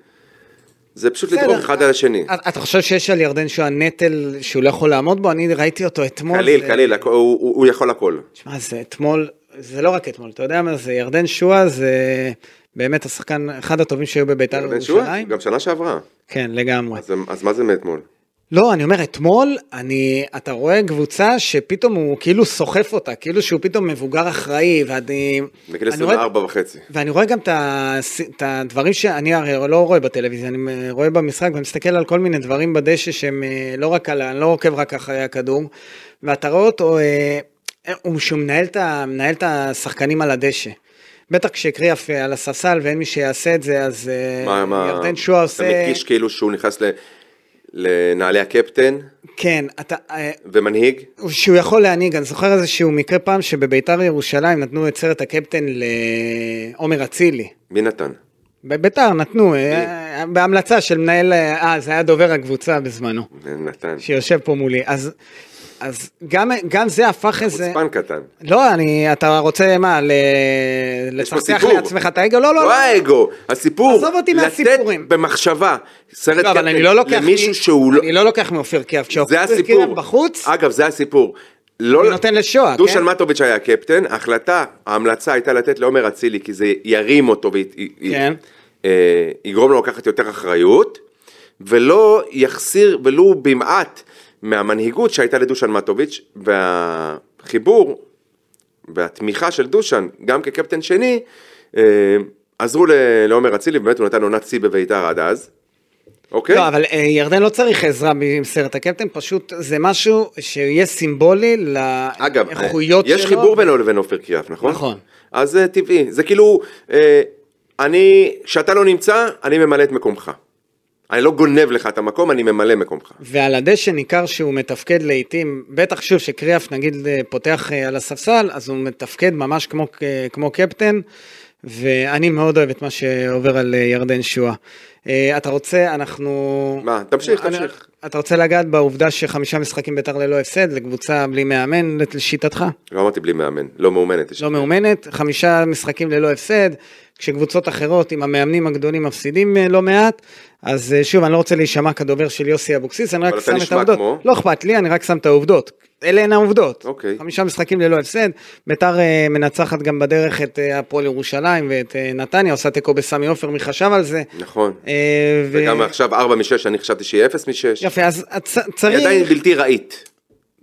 Speaker 3: זה פשוט
Speaker 2: בסדר.
Speaker 3: לדרוך אחד על השני.
Speaker 2: את- אתה חושב שיש על ירדן שואה נטל שהוא לא יכול לעמוד בו? אני ראיתי אותו אתמול.
Speaker 3: קליל,
Speaker 2: זה-
Speaker 3: קליל, הכ- הוא- הוא הוא יכול הכל.
Speaker 2: תשמע, זה אתמול, זה לא רק אתמול, אתה יודע מה זה, ירדן שואה זה באמת השחקן, אחד הטובים שהיו בביתר
Speaker 3: בן שועה?
Speaker 2: ירושלים.
Speaker 3: גם שנה שעברה.
Speaker 2: כן, לגמרי.
Speaker 3: אז- אז מה זה מאתמול?
Speaker 2: לא, אני אומר, אתמול, אני, אתה רואה קבוצה שפתאום הוא כאילו סוחף אותה, כאילו שהוא פתאום מבוגר אחראי, ואני...
Speaker 3: בגיל
Speaker 2: אני רואה-
Speaker 3: 24 וחצי.
Speaker 2: ואני רואה גם את הס- את הדברים שאני הרי לא רואה בטלוויזיה, אני אה, רואה במשחק ומסתכל על כל מיני דברים בדשא שהם אה, לא רק על, ה- אני לא עוקב רק אחרי הכדור, ואתה רואה אותו, אה, אה, הוא שהוא מנהל את ה- מנהל את השחקנים על הדשא. בטח כשקריאף אה, על הספסל ואין מי שיעשה את זה, אז אה,
Speaker 3: מה, מה?
Speaker 2: ירדן שועה עושה...
Speaker 3: אתה מקיש כאילו שהוא נכנס ל- לנעלי הקפטן
Speaker 2: כן, אתה... אה,
Speaker 3: ומנהיג?
Speaker 2: שהוא יכול להנהיג, אני זוכר איזשהו מקרה פעם שבביתר ירושלים נתנו את סרט הקפטן לעומר אצילי.
Speaker 3: מי נתן?
Speaker 2: בביתר נתנו, אה, בהמלצה של מנהל, אה, זה היה דובר הקבוצה בזמנו,
Speaker 3: נתן.
Speaker 2: שיושב פה מולי. אז, אז גם, גם זה הפך איזה...
Speaker 3: חוצפן קטן.
Speaker 2: לא, אני, אתה רוצה מה, ל...
Speaker 3: יש פה
Speaker 2: לצחצח
Speaker 3: סיפור.
Speaker 2: לעצמך את האגו? לא, לא,
Speaker 3: לא האגו, הסיפור.
Speaker 2: עזוב אותי מהסיפורים.
Speaker 3: לתת במחשבה סרט
Speaker 2: לא, אבל
Speaker 3: קפטן
Speaker 2: אני לא לוקח,
Speaker 3: למישהו
Speaker 2: מ-
Speaker 3: שהוא לא...
Speaker 2: אני לא לוקח מאופיר קיאף,
Speaker 3: זה
Speaker 2: כשאופיר
Speaker 3: הסיפור.
Speaker 2: קיאף בחוץ,
Speaker 3: אגב, זה הסיפור. לא...
Speaker 2: אני נותן לשואה,
Speaker 3: דושן
Speaker 2: כן?
Speaker 3: מטוביץ' היה הקפטן, ההחלטה, ההמלצה הייתה לתת לעומר אצילי, כי זה ירים אותו
Speaker 2: כן.
Speaker 3: ויגרום אה, לו לקחת יותר אחריות, ולא יחסיר ולו במעט מהמנהיגות שהייתה לדושן מטוביץ', והחיבור והתמיכה של דושן, גם כקפטן שני, אה, עזרו ל- לעומר אצילי, ובאמת הוא נתן עונת שיא בביתר עד אז. אוקיי?
Speaker 2: לא, אבל אה, ירדן לא צריך עזרה עם סרט הקפטן, פשוט זה משהו שיהיה סימבולי
Speaker 3: אגב,
Speaker 2: לאיכויות שלו.
Speaker 3: יש חיבור בינו לבין עופר קריאף, נכון?
Speaker 2: נכון.
Speaker 3: אז זה טבעי, זה כאילו, אה, אני, כשאתה לא נמצא, אני ממלא את מקומך. אני לא גונב לך את המקום, אני ממלא מקומך.
Speaker 2: ועל הדשא ניכר שהוא מתפקד לעיתים, בטח שוב שקריאף נגיד אה, פותח אה, על הספסל, אז הוא מתפקד ממש כמו, ק- כמו קפטן, ואני מאוד אוהב את מה שעובר על אה, ירדן שואה. אה, אתה רוצה, אנחנו...
Speaker 3: מה, תמשיך,
Speaker 2: אני-
Speaker 3: תמשיך.
Speaker 2: אתה רוצה לגעת בעובדה שחמישה משחקים ביתר ללא הפסד, לקבוצה בלי מאמן, לשיטתך?
Speaker 3: לא אמרתי בלי מאמן, לא מאומנת. יש
Speaker 2: לא מאומנת, חמישה משחקים ללא הפסד, כשקבוצות אחרות עם המאמנים הגדולים מפסידים אה, לא מעט, אז אה, שוב, אני לא רוצה להישמע כדובר של יוסי אבוקסיס, אני רק
Speaker 3: אבל אתה
Speaker 2: שם את
Speaker 3: נשמע
Speaker 2: העובדות.
Speaker 3: כמו?
Speaker 2: לא אכפת לי, אני רק שם את העובדות. אלה הן העובדות.
Speaker 3: אוקיי.
Speaker 2: חמישה משחקים ללא הפסד, ביתר אה, מנצחת גם בדרך את אה, הפועל ירושלים ואת אה, נתניה, עושה תיקו בסמי עופר, מי חשב על זה?
Speaker 3: נכון.
Speaker 2: אה, ו-
Speaker 3: וגם עכשיו 4 מ-6, אני חשבתי שיהיה 0 מ-6.
Speaker 2: יפה, אז הצ-
Speaker 3: היא
Speaker 2: צריך...
Speaker 3: עדיין בלתי ראית.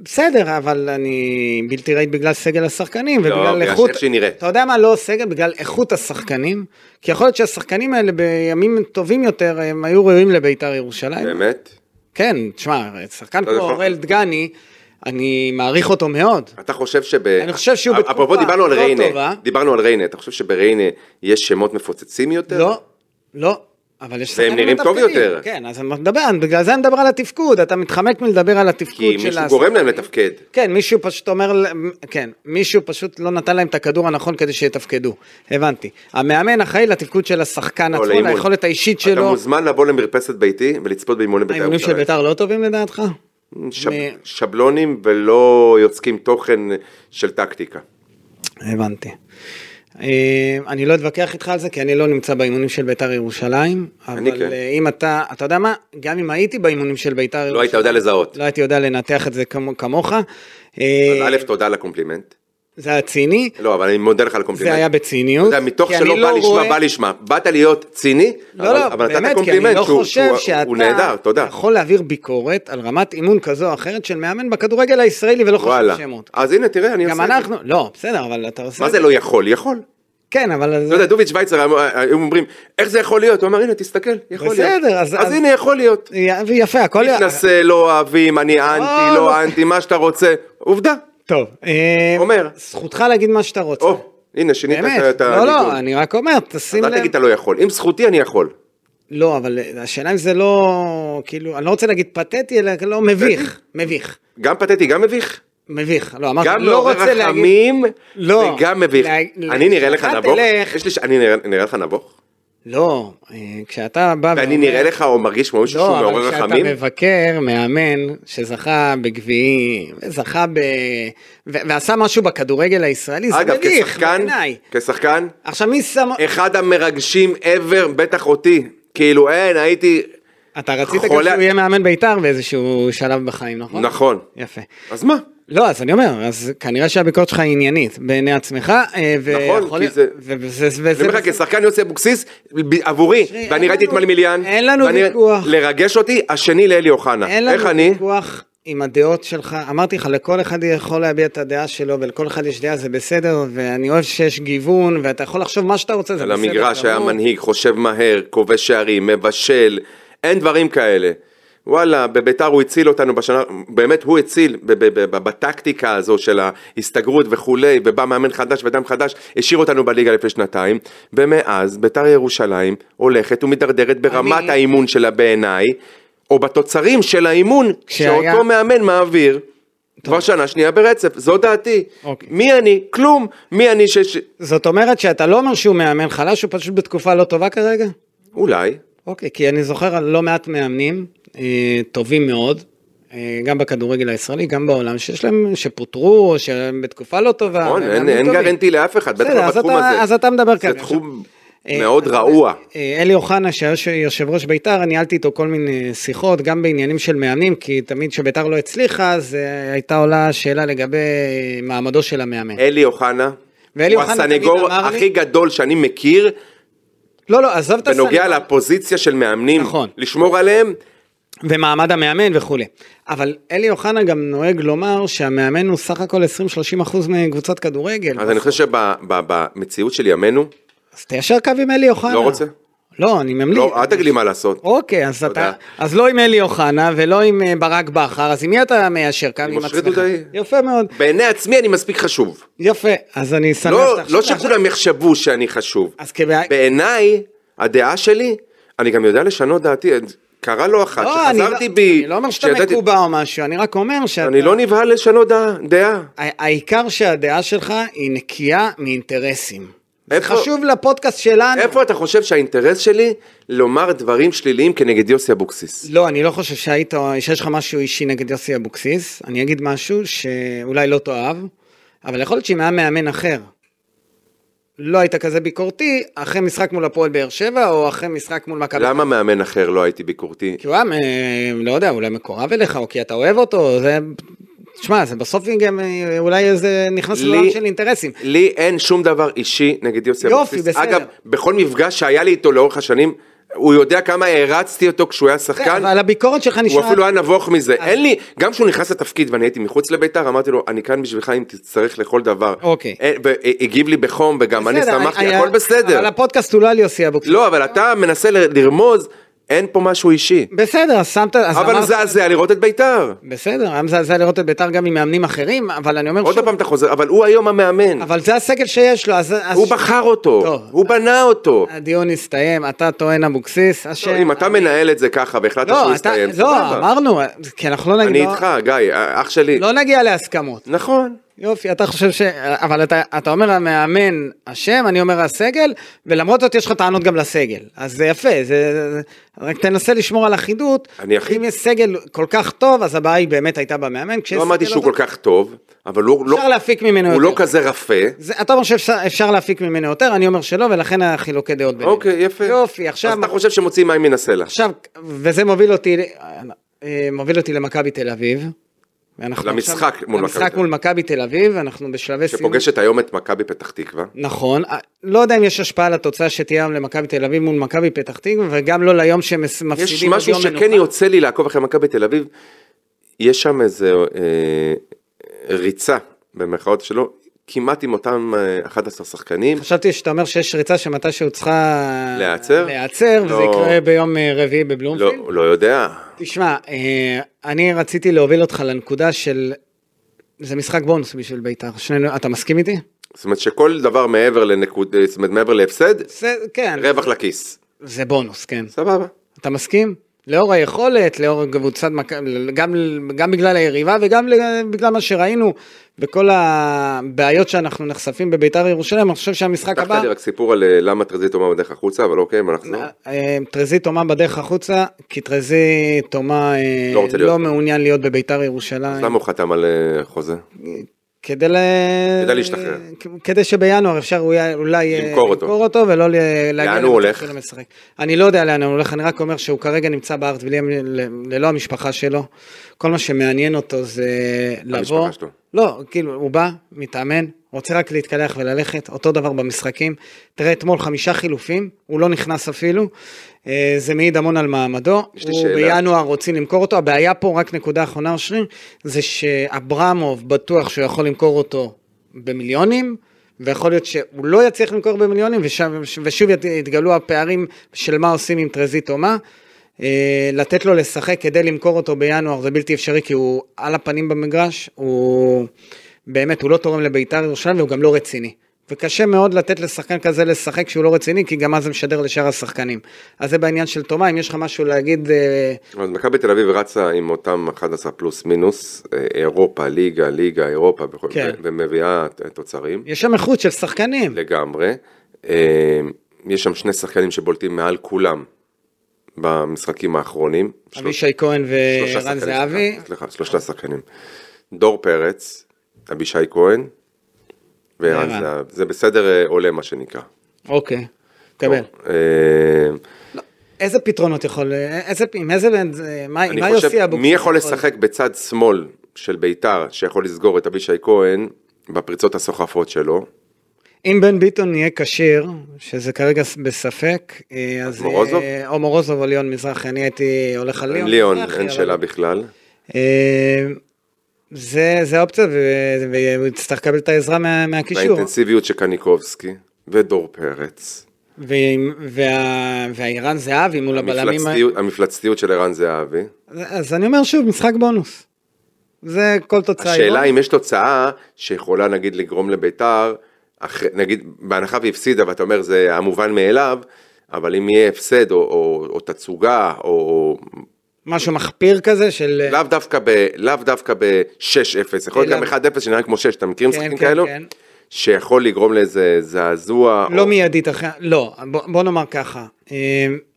Speaker 2: בסדר, אבל אני בלתי ראית בגלל סגל השחקנים
Speaker 3: לא,
Speaker 2: ובגלל
Speaker 3: בגלל
Speaker 2: איכות...
Speaker 3: איך שהיא נראית.
Speaker 2: אתה יודע מה לא סגל? בגלל איכות השחקנים. כי יכול להיות שהשחקנים האלה בימים טובים יותר, הם היו ראויים לביתר ירושלים.
Speaker 3: באמת? לא, נכון.
Speaker 2: כן, תשמע, שחקן
Speaker 3: אתה
Speaker 2: כמו
Speaker 3: יכול-
Speaker 2: אורל דגני, אני מעריך אותו מאוד.
Speaker 3: אתה חושב שב...
Speaker 2: אני חושב שהוא
Speaker 3: אפ- אפרופו
Speaker 2: בתקופה
Speaker 3: דיברנו על
Speaker 2: לא
Speaker 3: ריינה,
Speaker 2: טובה.
Speaker 3: דיברנו על ריינה, אתה חושב שבריינה יש שמות מפוצצים יותר?
Speaker 2: לא, לא. אבל יש
Speaker 3: והם
Speaker 2: שחקנים
Speaker 3: נראים טוב
Speaker 2: מתפקדים.
Speaker 3: יותר.
Speaker 2: כן, אז אני מדבר, אני- בגלל זה אני מדבר על התפקוד, אתה מתחמק מלדבר על התפקוד של
Speaker 3: כי מישהו גורם להם לתפקד.
Speaker 2: כן, מישהו פשוט אומר, ל- כן, מישהו פשוט לא נתן להם את הכדור הנכון כדי שיתפקדו, הבנתי. המאמן אחראי לתפקוד של השחקן
Speaker 3: או
Speaker 2: עצמו,
Speaker 3: לא, לאימון.
Speaker 2: ליכולת האישית
Speaker 3: אתה
Speaker 2: שלו.
Speaker 3: מוזמן לבוא למרפסת ביתי ולצפות באימונים בית"ר
Speaker 2: האימונים של
Speaker 3: ירושלים.
Speaker 2: ביתר לא טובים לדעתך?
Speaker 3: שב-
Speaker 2: מ-
Speaker 3: שבלונים ולא יוצקים תוכן של טקטיקה.
Speaker 2: הבנתי. אה, אני לא אתווכח איתך על זה, כי אני לא נמצא באימונים של ביתר ירושלים.
Speaker 3: אני כן.
Speaker 2: אבל אה, אם אתה, אתה יודע מה, גם אם הייתי באימונים של ביתר ירושלים...
Speaker 3: היית יודע לזהות.
Speaker 2: לא הייתי יודע לנתח את זה כמו- כמוך. אה,
Speaker 3: אז א', תודה על הקומפלימנט.
Speaker 2: זה היה ציני,
Speaker 3: לא, אבל אני מודה לך על הקומפלימנט.
Speaker 2: זה היה
Speaker 3: אתה
Speaker 2: בציניות.
Speaker 3: יודע, מתוך
Speaker 2: כי
Speaker 3: שלא
Speaker 2: אני
Speaker 3: בא
Speaker 2: לא
Speaker 3: לשמה,
Speaker 2: רואה-
Speaker 3: בא לשמה. באת להיות ציני,
Speaker 2: לא, לא,
Speaker 3: אבל אבל נתת
Speaker 2: באמת, כי אני
Speaker 3: קומפלימנט
Speaker 2: לא
Speaker 3: שהוא-
Speaker 2: חושב
Speaker 3: שהוא
Speaker 2: שאתה לא
Speaker 3: הוא נהדר, תודה.
Speaker 2: יכול להעביר ביקורת על רמת אימון כזו או אחרת של מאמן בכדורגל הישראלי ולא חושב
Speaker 3: וואלה.
Speaker 2: שמות.
Speaker 3: אז הנה, תראה, אני
Speaker 2: גם
Speaker 3: עושה את זה.
Speaker 2: אנחנו, לא, בסדר, אבל אתה עושה...
Speaker 3: מה
Speaker 2: את
Speaker 3: זה לא יכול? יכול.
Speaker 2: כן, אבל...
Speaker 3: אתה יודע, דוביץ' שווייצר, היו אומרים, איך זה יכול להיות? הוא אמר, הנה, תסתכל, יכול להיות.
Speaker 2: בסדר, אז-
Speaker 3: אז
Speaker 2: אז-
Speaker 3: הנה, יכול להיות.
Speaker 2: יפה, הכל...
Speaker 3: מתנשא, לא אוהבים, אני אנטי,
Speaker 2: לא.
Speaker 3: לא אנטי, מה שאתה רוצה. עובדה.
Speaker 2: טוב. אה,
Speaker 3: אומר.
Speaker 2: זכותך להגיד מה שאתה רוצה.
Speaker 3: או, הנה, שינית את
Speaker 2: באמת.
Speaker 3: ה- את
Speaker 2: לא,
Speaker 3: הניגון.
Speaker 2: לא, אני רק אומר, תשים
Speaker 3: אז
Speaker 2: לב.
Speaker 3: אל תגיד אתה לא יכול. אם זכותי, אני יכול.
Speaker 2: לא, אבל השאלה אם זה לא... כאילו, אני לא רוצה להגיד פתטי, אלא לא מביך. מביך.
Speaker 3: גם פתטי, גם מביך.
Speaker 2: מביך. לא, אמרתי,
Speaker 3: גם
Speaker 2: לא
Speaker 3: מעורר
Speaker 2: רוצה להגיד...
Speaker 3: רחמים,
Speaker 2: לא.
Speaker 3: וגם מביך.
Speaker 2: לה-
Speaker 3: אני נראה לך
Speaker 2: כשאתה
Speaker 3: נבוך?
Speaker 2: תלך-
Speaker 3: יש לי ש- אני נראה- נראה לך נבוך?
Speaker 2: לא, אה, כשאתה בא...
Speaker 3: ואני
Speaker 2: ואומר-
Speaker 3: נראה לך או מרגיש כמו מישהו שהוא
Speaker 2: לא,
Speaker 3: מעורר
Speaker 2: אבל כשאתה
Speaker 3: רחמים?
Speaker 2: מבקר מאמן שזכה בגביעים, וזכה ב... ו- ועשה משהו בכדורגל הישראלי, זה
Speaker 3: אגב,
Speaker 2: מביך
Speaker 3: כשחקן,
Speaker 2: בעיניי.
Speaker 3: כשחקן,
Speaker 2: עכשיו מי שם...
Speaker 3: אחד המרגשים ever, בטח אותי. כאילו, אין, הייתי...
Speaker 2: אתה רצית גם שהוא
Speaker 3: חולה-
Speaker 2: יהיה מאמן בית"ר באיזשהו שלב בחיים, נכון?
Speaker 3: נכון.
Speaker 2: יפה.
Speaker 3: אז מה?
Speaker 2: לא, אז אני אומר, אז כנראה שהביקורת שלך היא עניינית בעיני עצמך, אה, ויכול
Speaker 3: נכון, כי
Speaker 2: להיות-
Speaker 3: זה-
Speaker 2: וזה...
Speaker 3: אני
Speaker 2: וזה...
Speaker 3: אומר לך, כשחקן יוסי אבוקסיס, ב- עבורי,
Speaker 2: אשרי, אין
Speaker 3: ואני ראיתי את
Speaker 2: לנו-
Speaker 3: מלמיליאן,
Speaker 2: אין לנו
Speaker 3: ואני-
Speaker 2: ויכוח.
Speaker 3: לרגש אותי, השני לאלי אוחנה.
Speaker 2: אין
Speaker 3: איך
Speaker 2: לנו
Speaker 3: אני?
Speaker 2: ויכוח עם הדעות שלך, אמרתי לך, לכל אחד יכול להביע את הדעה שלו, ולכל אחד יש דעה, זה בסדר, ואני אוהב שיש גיוון, ואתה יכול לחשוב מה שאתה רוצה, זה
Speaker 3: על
Speaker 2: בסדר.
Speaker 3: המגרש היה
Speaker 2: גמור.
Speaker 3: מנהיג, חושב מהר, כובש שערים, מבשל, אין דברים כאלה. וואלה, בביתר הוא הציל אותנו בשנה, באמת הוא הציל ב- ב- ב- ב- בטקטיקה הזו של ההסתגרות וכולי, ובא מאמן חדש ודם חדש, השאיר אותנו בליגה לפני שנתיים, ומאז ביתר ירושלים הולכת ומידרדרת ברמת
Speaker 2: אני-
Speaker 3: האימון שלה בעיניי, או בתוצרים של האימון,
Speaker 2: כשהיה-
Speaker 3: שאותו מאמן מעביר. כבר שנה שנייה ברצף, זו דעתי.
Speaker 2: אוקיי.
Speaker 3: מי אני? כלום. מי אני ש... ש-
Speaker 2: זאת אומרת שאתה לא אומר שהוא מאמן חלש, הוא פשוט בתקופה לא טובה כרגע?
Speaker 3: אולי.
Speaker 2: אוקיי, כי אני זוכר על לא מעט מאמנים אה, טובים מאוד, אה, גם בכדורגל הישראלי, גם בעולם, שיש להם, שפוטרו, או שהם בתקופה לא טובה.
Speaker 3: נכון,
Speaker 2: הם
Speaker 3: אין,
Speaker 2: מאמנים
Speaker 3: אין
Speaker 2: טובים.
Speaker 3: גרנטי לאף אחד, בטח
Speaker 2: בסדר,
Speaker 3: לא
Speaker 2: אז
Speaker 3: בתחום
Speaker 2: אתה-
Speaker 3: הזה.
Speaker 2: אז אתה מדבר כאן.
Speaker 3: זה תחום
Speaker 2: אה,
Speaker 3: מאוד
Speaker 2: אז,
Speaker 3: רעוע.
Speaker 2: אה, אלי אוחנה, שהיה ש- יושב ראש בית"ר, ניהלתי איתו כל מיני שיחות, גם בעניינים של מאמנים, כי תמיד כשבית"ר לא הצליחה, אז אה, הייתה עולה שאלה לגבי אה, מעמדו של המאמן.
Speaker 3: אלי אוחנה,
Speaker 2: ואלי
Speaker 3: הוא
Speaker 2: אוחנה תמיד
Speaker 3: הסנגור
Speaker 2: אמר לי-
Speaker 3: הכי גדול שאני מכיר,
Speaker 2: לא, לא, עזוב את הסנגור.
Speaker 3: בנוגע לפוזיציה של מאמנים,
Speaker 2: נכון.
Speaker 3: לשמור עליהם,
Speaker 2: ומעמד המאמן וכולי. אבל אלי אוחנה גם נוהג לומר שהמאמן הוא סך הכל 20-30 אחוז מקבוצת כדורגל.
Speaker 3: אז אני חושב שבמציאות של ימינו,
Speaker 2: אז תיישר קו עם אלי אוחנה.
Speaker 3: לא רוצה.
Speaker 2: לא, אני ממליץ.
Speaker 3: לא, אל תגיד לי מה לעשות.
Speaker 2: אוקיי, אז אתה,
Speaker 3: תודה.
Speaker 2: אז לא עם אלי אוחנה ולא עם אה, ברק בכר, אז עם מי אתה מיישר קו?
Speaker 3: עם
Speaker 2: עם
Speaker 3: אושרי
Speaker 2: עצמך.
Speaker 3: דודאי.
Speaker 2: יפה מאוד,
Speaker 3: בעיני עצמי אני מספיק חשוב.
Speaker 2: יפה. אז אני שמח
Speaker 3: לא,
Speaker 2: שאתה
Speaker 3: לא
Speaker 2: עכשיו-
Speaker 3: שכולם יחשבו שאני חשוב.
Speaker 2: אז כבע-
Speaker 3: בעיניי, הדעה שלי, אני גם יודע לשנות דעתי, קרה לא אחת,
Speaker 2: לא, אני לא-
Speaker 3: שחזרתי בי,
Speaker 2: אני לא אומר שאתה
Speaker 3: שידעתי-
Speaker 2: מקובע או משהו, אני רק אומר שאתה...
Speaker 3: אני לא נבהל לשנות דעה- דעה.
Speaker 2: ה- העיקר שהדעה שלך היא נקייה מאינטרסים. זה
Speaker 3: איפה-
Speaker 2: חשוב לפודקאסט שלנו.
Speaker 3: איפה אתה חושב שהאינטרס שלי לומר דברים שליליים כנגד יוסי אבוקסיס?
Speaker 2: לא, אני לא חושב שהיית, שיש לך משהו אישי נגד יוסי אבוקסיס. אני אגיד משהו שאולי לא תאהב, אבל יכול להיות שאם היה מאמן אחר, לא היית כזה ביקורתי, אחרי משחק מול הפועל באר שבע, או אחרי משחק מול מכבי...
Speaker 3: למה מאמן אחר לא הייתי ביקורתי?
Speaker 2: כי הוא היה, אה, לא יודע, אולי מקורב אליך, או כי אתה אוהב אותו, זה... תשמע, זה בסוף גם אה, אולי זה נכנס
Speaker 3: לי-
Speaker 2: לעולם של אינטרסים.
Speaker 3: לי אין שום דבר אישי נגד יוסי
Speaker 2: יופי,
Speaker 3: אבוקסיס.
Speaker 2: בסדר.
Speaker 3: אגב, בכל מפגש שהיה לי איתו לאורך השנים, הוא יודע כמה הערצתי אותו כשהוא היה
Speaker 2: כן,
Speaker 3: שחקן.
Speaker 2: אבל הביקורת שלך
Speaker 3: הוא
Speaker 2: נשמעת...
Speaker 3: אפילו היה נבוך מזה, אין לי, גם כשהוא נכנס לתפקיד ואני הייתי מחוץ לביתר, אמרתי לו, אני כאן בשבילך אם תצטרך לכל דבר. אה,
Speaker 2: אוקיי.
Speaker 3: אין- והגיב לי בחום, וגם אני
Speaker 2: בסדר,
Speaker 3: שמחתי,
Speaker 2: היה-
Speaker 3: הכל
Speaker 2: אבל
Speaker 3: בסדר.
Speaker 2: הפודקאסט הוא לא על יוסי אבוקסיס.
Speaker 3: לא, אבל אתה מנסה ל- לרמוז, אין פה משהו אישי.
Speaker 2: בסדר, אז שמת... אז
Speaker 3: אבל
Speaker 2: אמרת-
Speaker 3: מזעזע לראות את ביתר.
Speaker 2: בסדר, היה מזעזע לראות את ביתר גם עם מאמנים אחרים, אבל אני אומר
Speaker 3: עוד
Speaker 2: שוב,
Speaker 3: פעם אתה חוזר, אבל הוא היום המאמן.
Speaker 2: אבל זה הסגל שיש לו, אז... אז לא. אה,
Speaker 3: הוא בחר אותו,
Speaker 2: טוב.
Speaker 3: הוא בנה אותו.
Speaker 2: הדיון הסתיים, אתה טוען אבוקסיס,
Speaker 3: טוב,
Speaker 2: השם...
Speaker 3: לא, אם אתה מנהל את זה ככה והחלטת שהוא
Speaker 2: אה, לא, אתה...
Speaker 3: יסתיים,
Speaker 2: לא,
Speaker 3: סבבה.
Speaker 2: אמרנו, כי אנחנו לא נגיד...
Speaker 3: אני
Speaker 2: לא-
Speaker 3: איתך, גיא, אה, אח שלי.
Speaker 2: לא נגיע להסכמות.
Speaker 3: נכון.
Speaker 2: יופי, אתה חושב ש... אבל אתה, אתה אומר המאמן אשם, אני אומר הסגל, ולמרות זאת יש לך טענות גם לסגל. אז זה יפה, זה... זה- רק תנסה לשמור על אחידות.
Speaker 3: אני אחיד.
Speaker 2: אם יש סגל כל כך טוב, אז הבעיה היא באמת הייתה במאמן. כשיש
Speaker 3: לא אמרתי
Speaker 2: סגל
Speaker 3: שהוא כל כך טוב, אבל הוא לא-
Speaker 2: אפשר להפיק ממנו
Speaker 3: הוא
Speaker 2: יותר.
Speaker 3: לא כזה רפה.
Speaker 2: זה, אתה אומר שאפשר אפשר להפיק ממנו יותר, אני אומר שלא, ולכן החילוקי דעות בינינו.
Speaker 3: אוקיי, יפה.
Speaker 2: יופי, עכשיו,
Speaker 3: אז אתה חושב שמוציאים מים מן הסלע.
Speaker 2: עכשיו, וזה מוביל אותי, אה, מוביל אותי למכבי תל אביב. ואנחנו
Speaker 3: למשחק
Speaker 2: עכשיו-
Speaker 3: מול מכבי
Speaker 2: למשחק
Speaker 3: תל
Speaker 2: מול מכבי תל אביב, אנחנו בשלבי סיום.
Speaker 3: שפוגשת היום את מכבי פתח תקווה.
Speaker 2: נכון, אה, לא יודע אם יש השפעה לתוצאה שתהיה היום למכבי תל אביב מול מכבי פתח תקווה, וגם לא ליום שהם מס- מפסידים.
Speaker 3: יש
Speaker 2: עוד
Speaker 3: משהו
Speaker 2: יום
Speaker 3: שכן
Speaker 2: מנוחה.
Speaker 3: יוצא לי לעקוב אחרי מכבי תל אביב, יש שם איזה אה, ריצה, במרכאות שלו, כמעט עם אותם אה, 11 שחקנים.
Speaker 2: חשבתי שאתה אומר שיש ריצה שמתישהו צריכה...
Speaker 3: להיעצר?
Speaker 2: להיעצר, וזה
Speaker 3: לא.
Speaker 2: יקרה ביום אה, רביעי בבלומפילד.
Speaker 3: לא, לא יודע.
Speaker 2: תשמע, אה, אני רציתי להוביל אותך לנקודה של... זה משחק בונוס בשביל בית"ר. שנינו, אתה מסכים איתי?
Speaker 3: זאת אומרת שכל דבר מעבר לנקוד, אה, זאת אומרת מעבר להפסד,
Speaker 2: זה, כן,
Speaker 3: רווח לכיס.
Speaker 2: זה בונוס, כן.
Speaker 3: סבבה.
Speaker 2: אתה מסכים? לאור היכולת, לאור קבוצת מכבי, גם, גם בגלל היריבה וגם ל- בגלל מה שראינו בכל הבעיות שאנחנו נחשפים בבית"ר ירושלים, אני חושב שהמשחק
Speaker 3: פתחת
Speaker 2: הבא...
Speaker 3: לי רק סיפור על אה, למה טרזית אומר בדרך החוצה, אבל אוקיי, מה נחזור.
Speaker 2: אה, טרזי תומה בדרך החוצה, כי טרזי תומה אה,
Speaker 3: לא רוצה להיות
Speaker 2: לא
Speaker 3: פה.
Speaker 2: מעוניין להיות בביתר
Speaker 3: אז
Speaker 2: ירושלים.
Speaker 3: למה הוא חתם על אה, חוזה?
Speaker 2: כדי ל...
Speaker 3: כדי להשתחרר.
Speaker 2: כ- כדי שבינואר אפשר אולי- אולי אה,
Speaker 3: למכור אותו.
Speaker 2: למכור אותו ולא ל... להגיע
Speaker 3: לאן הוא
Speaker 2: למצב
Speaker 3: הולך?
Speaker 2: שהוא לא משחק. אני לא יודע לאן הוא הולך, אני רק אומר שהוא כרגע נמצא בארץ בלי... ל- ללא המשפחה שלו. כל מה שמעניין אותו זה לבוא.
Speaker 3: שלו.
Speaker 2: לא, כאילו, הוא בא, מתאמן, רוצה רק להתקלח וללכת, אותו דבר במשחקים. תראה, אתמול חמישה חילופים, הוא לא נכנס אפילו. אה, זה מעיד המון על מעמדו.
Speaker 3: יש לי
Speaker 2: הוא
Speaker 3: שאלה.
Speaker 2: בינואר רוצים למכור אותו. הבעיה פה, רק נקודה אחרונה, אושרי, זה שאברמוב בטוח שהוא יכול למכור אותו במיליונים, ויכול להיות שהוא לא יצליח למכור במיליונים, ושם, ושוב ית- יתגלו הפערים של מה עושים עם טרזית או מה. אה, לתת לו לשחק כדי למכור אותו בינואר זה בלתי אפשרי, כי הוא על הפנים במגרש, הוא באמת, הוא לא תורם לבית"ר ירושלים והוא גם לא רציני. וקשה מאוד לתת לשחקן כזה לשחק שהוא לא רציני, כי גם אז זה משדר לשאר השחקנים. אז זה בעניין של תומה, אם יש לך משהו להגיד... אה,
Speaker 3: אז מכבי תל אביב רצה עם אותם 11 פלוס מינוס, אה, אירופה, ליגה, ליגה, אירופה, וכל-
Speaker 2: כן.
Speaker 3: ו- ומביאה ת- תוצרים
Speaker 2: יש שם איכות של שחקנים.
Speaker 3: לגמרי. אה, יש שם שני שחקנים שבולטים מעל כולם במשחקים האחרונים.
Speaker 2: אבישי כהן
Speaker 3: שלושה
Speaker 2: ורן
Speaker 3: שחקנים,
Speaker 2: זהבי.
Speaker 3: סליחה, סליחה, שלושה שחקנים. דור פרץ, אבישי כהן
Speaker 2: ורן.
Speaker 3: וערן זהב. זה בסדר אה, עולה מה שנקרא.
Speaker 2: אוקיי, קבל.
Speaker 3: אה,
Speaker 2: איזה פתרונות יכול... איזה... עם איזה... אה, מה עם מה
Speaker 3: אני
Speaker 2: יוסי
Speaker 3: חושב,
Speaker 2: אבוקסיס?
Speaker 3: מי יכול לשחק בצד שמאל של ביתר, שיכול לסגור את אבישי כהן בפריצות הסוחפות שלו?
Speaker 2: אם בן ביטון יהיה כשיר, שזה כרגע בספק, אה, אז...
Speaker 3: מורוזוב?
Speaker 2: אה, או מורוזוב או ליאון מזרחי, אני הייתי הולך על ליאון
Speaker 3: ליאון,
Speaker 2: מזרחי,
Speaker 3: אין
Speaker 2: אבל-
Speaker 3: שאלה בכלל.
Speaker 2: אה, זה, זה האופציה, ו- והוא יצטרך לקבל את העזרה מה, מהקישור.
Speaker 3: והאינטנסיביות של קניקובסקי ודור פרץ.
Speaker 2: ועם- וה- והאיראן זהבי מול הבלמים. ה-
Speaker 3: המפלצתיות- המפלצתיות של ערן זהבי.
Speaker 2: אז אני אומר שוב, משחק בונוס. זה כל תוצאה. היא
Speaker 3: השאלה
Speaker 2: בונוס.
Speaker 3: אם יש תוצאה שיכולה נגיד לגרום לביתר, אחרי- נגיד בהנחה והפסידה ואתה אומר זה המובן מאליו, אבל אם יהיה הפסד או, או, או תצוגה, או...
Speaker 2: משהו מחפיר כזה של... אה,
Speaker 3: לאו דווקא ב... לאו דווקא ב-6-0, יכול להיות גם 1-0 שנראה כמו 6, אתה מכיר משחקים כאלו? שיכול לגרום לאיזה זעזוע.
Speaker 2: לא מיידית אחרי, לא, בוא, בוא נאמר ככה, אה,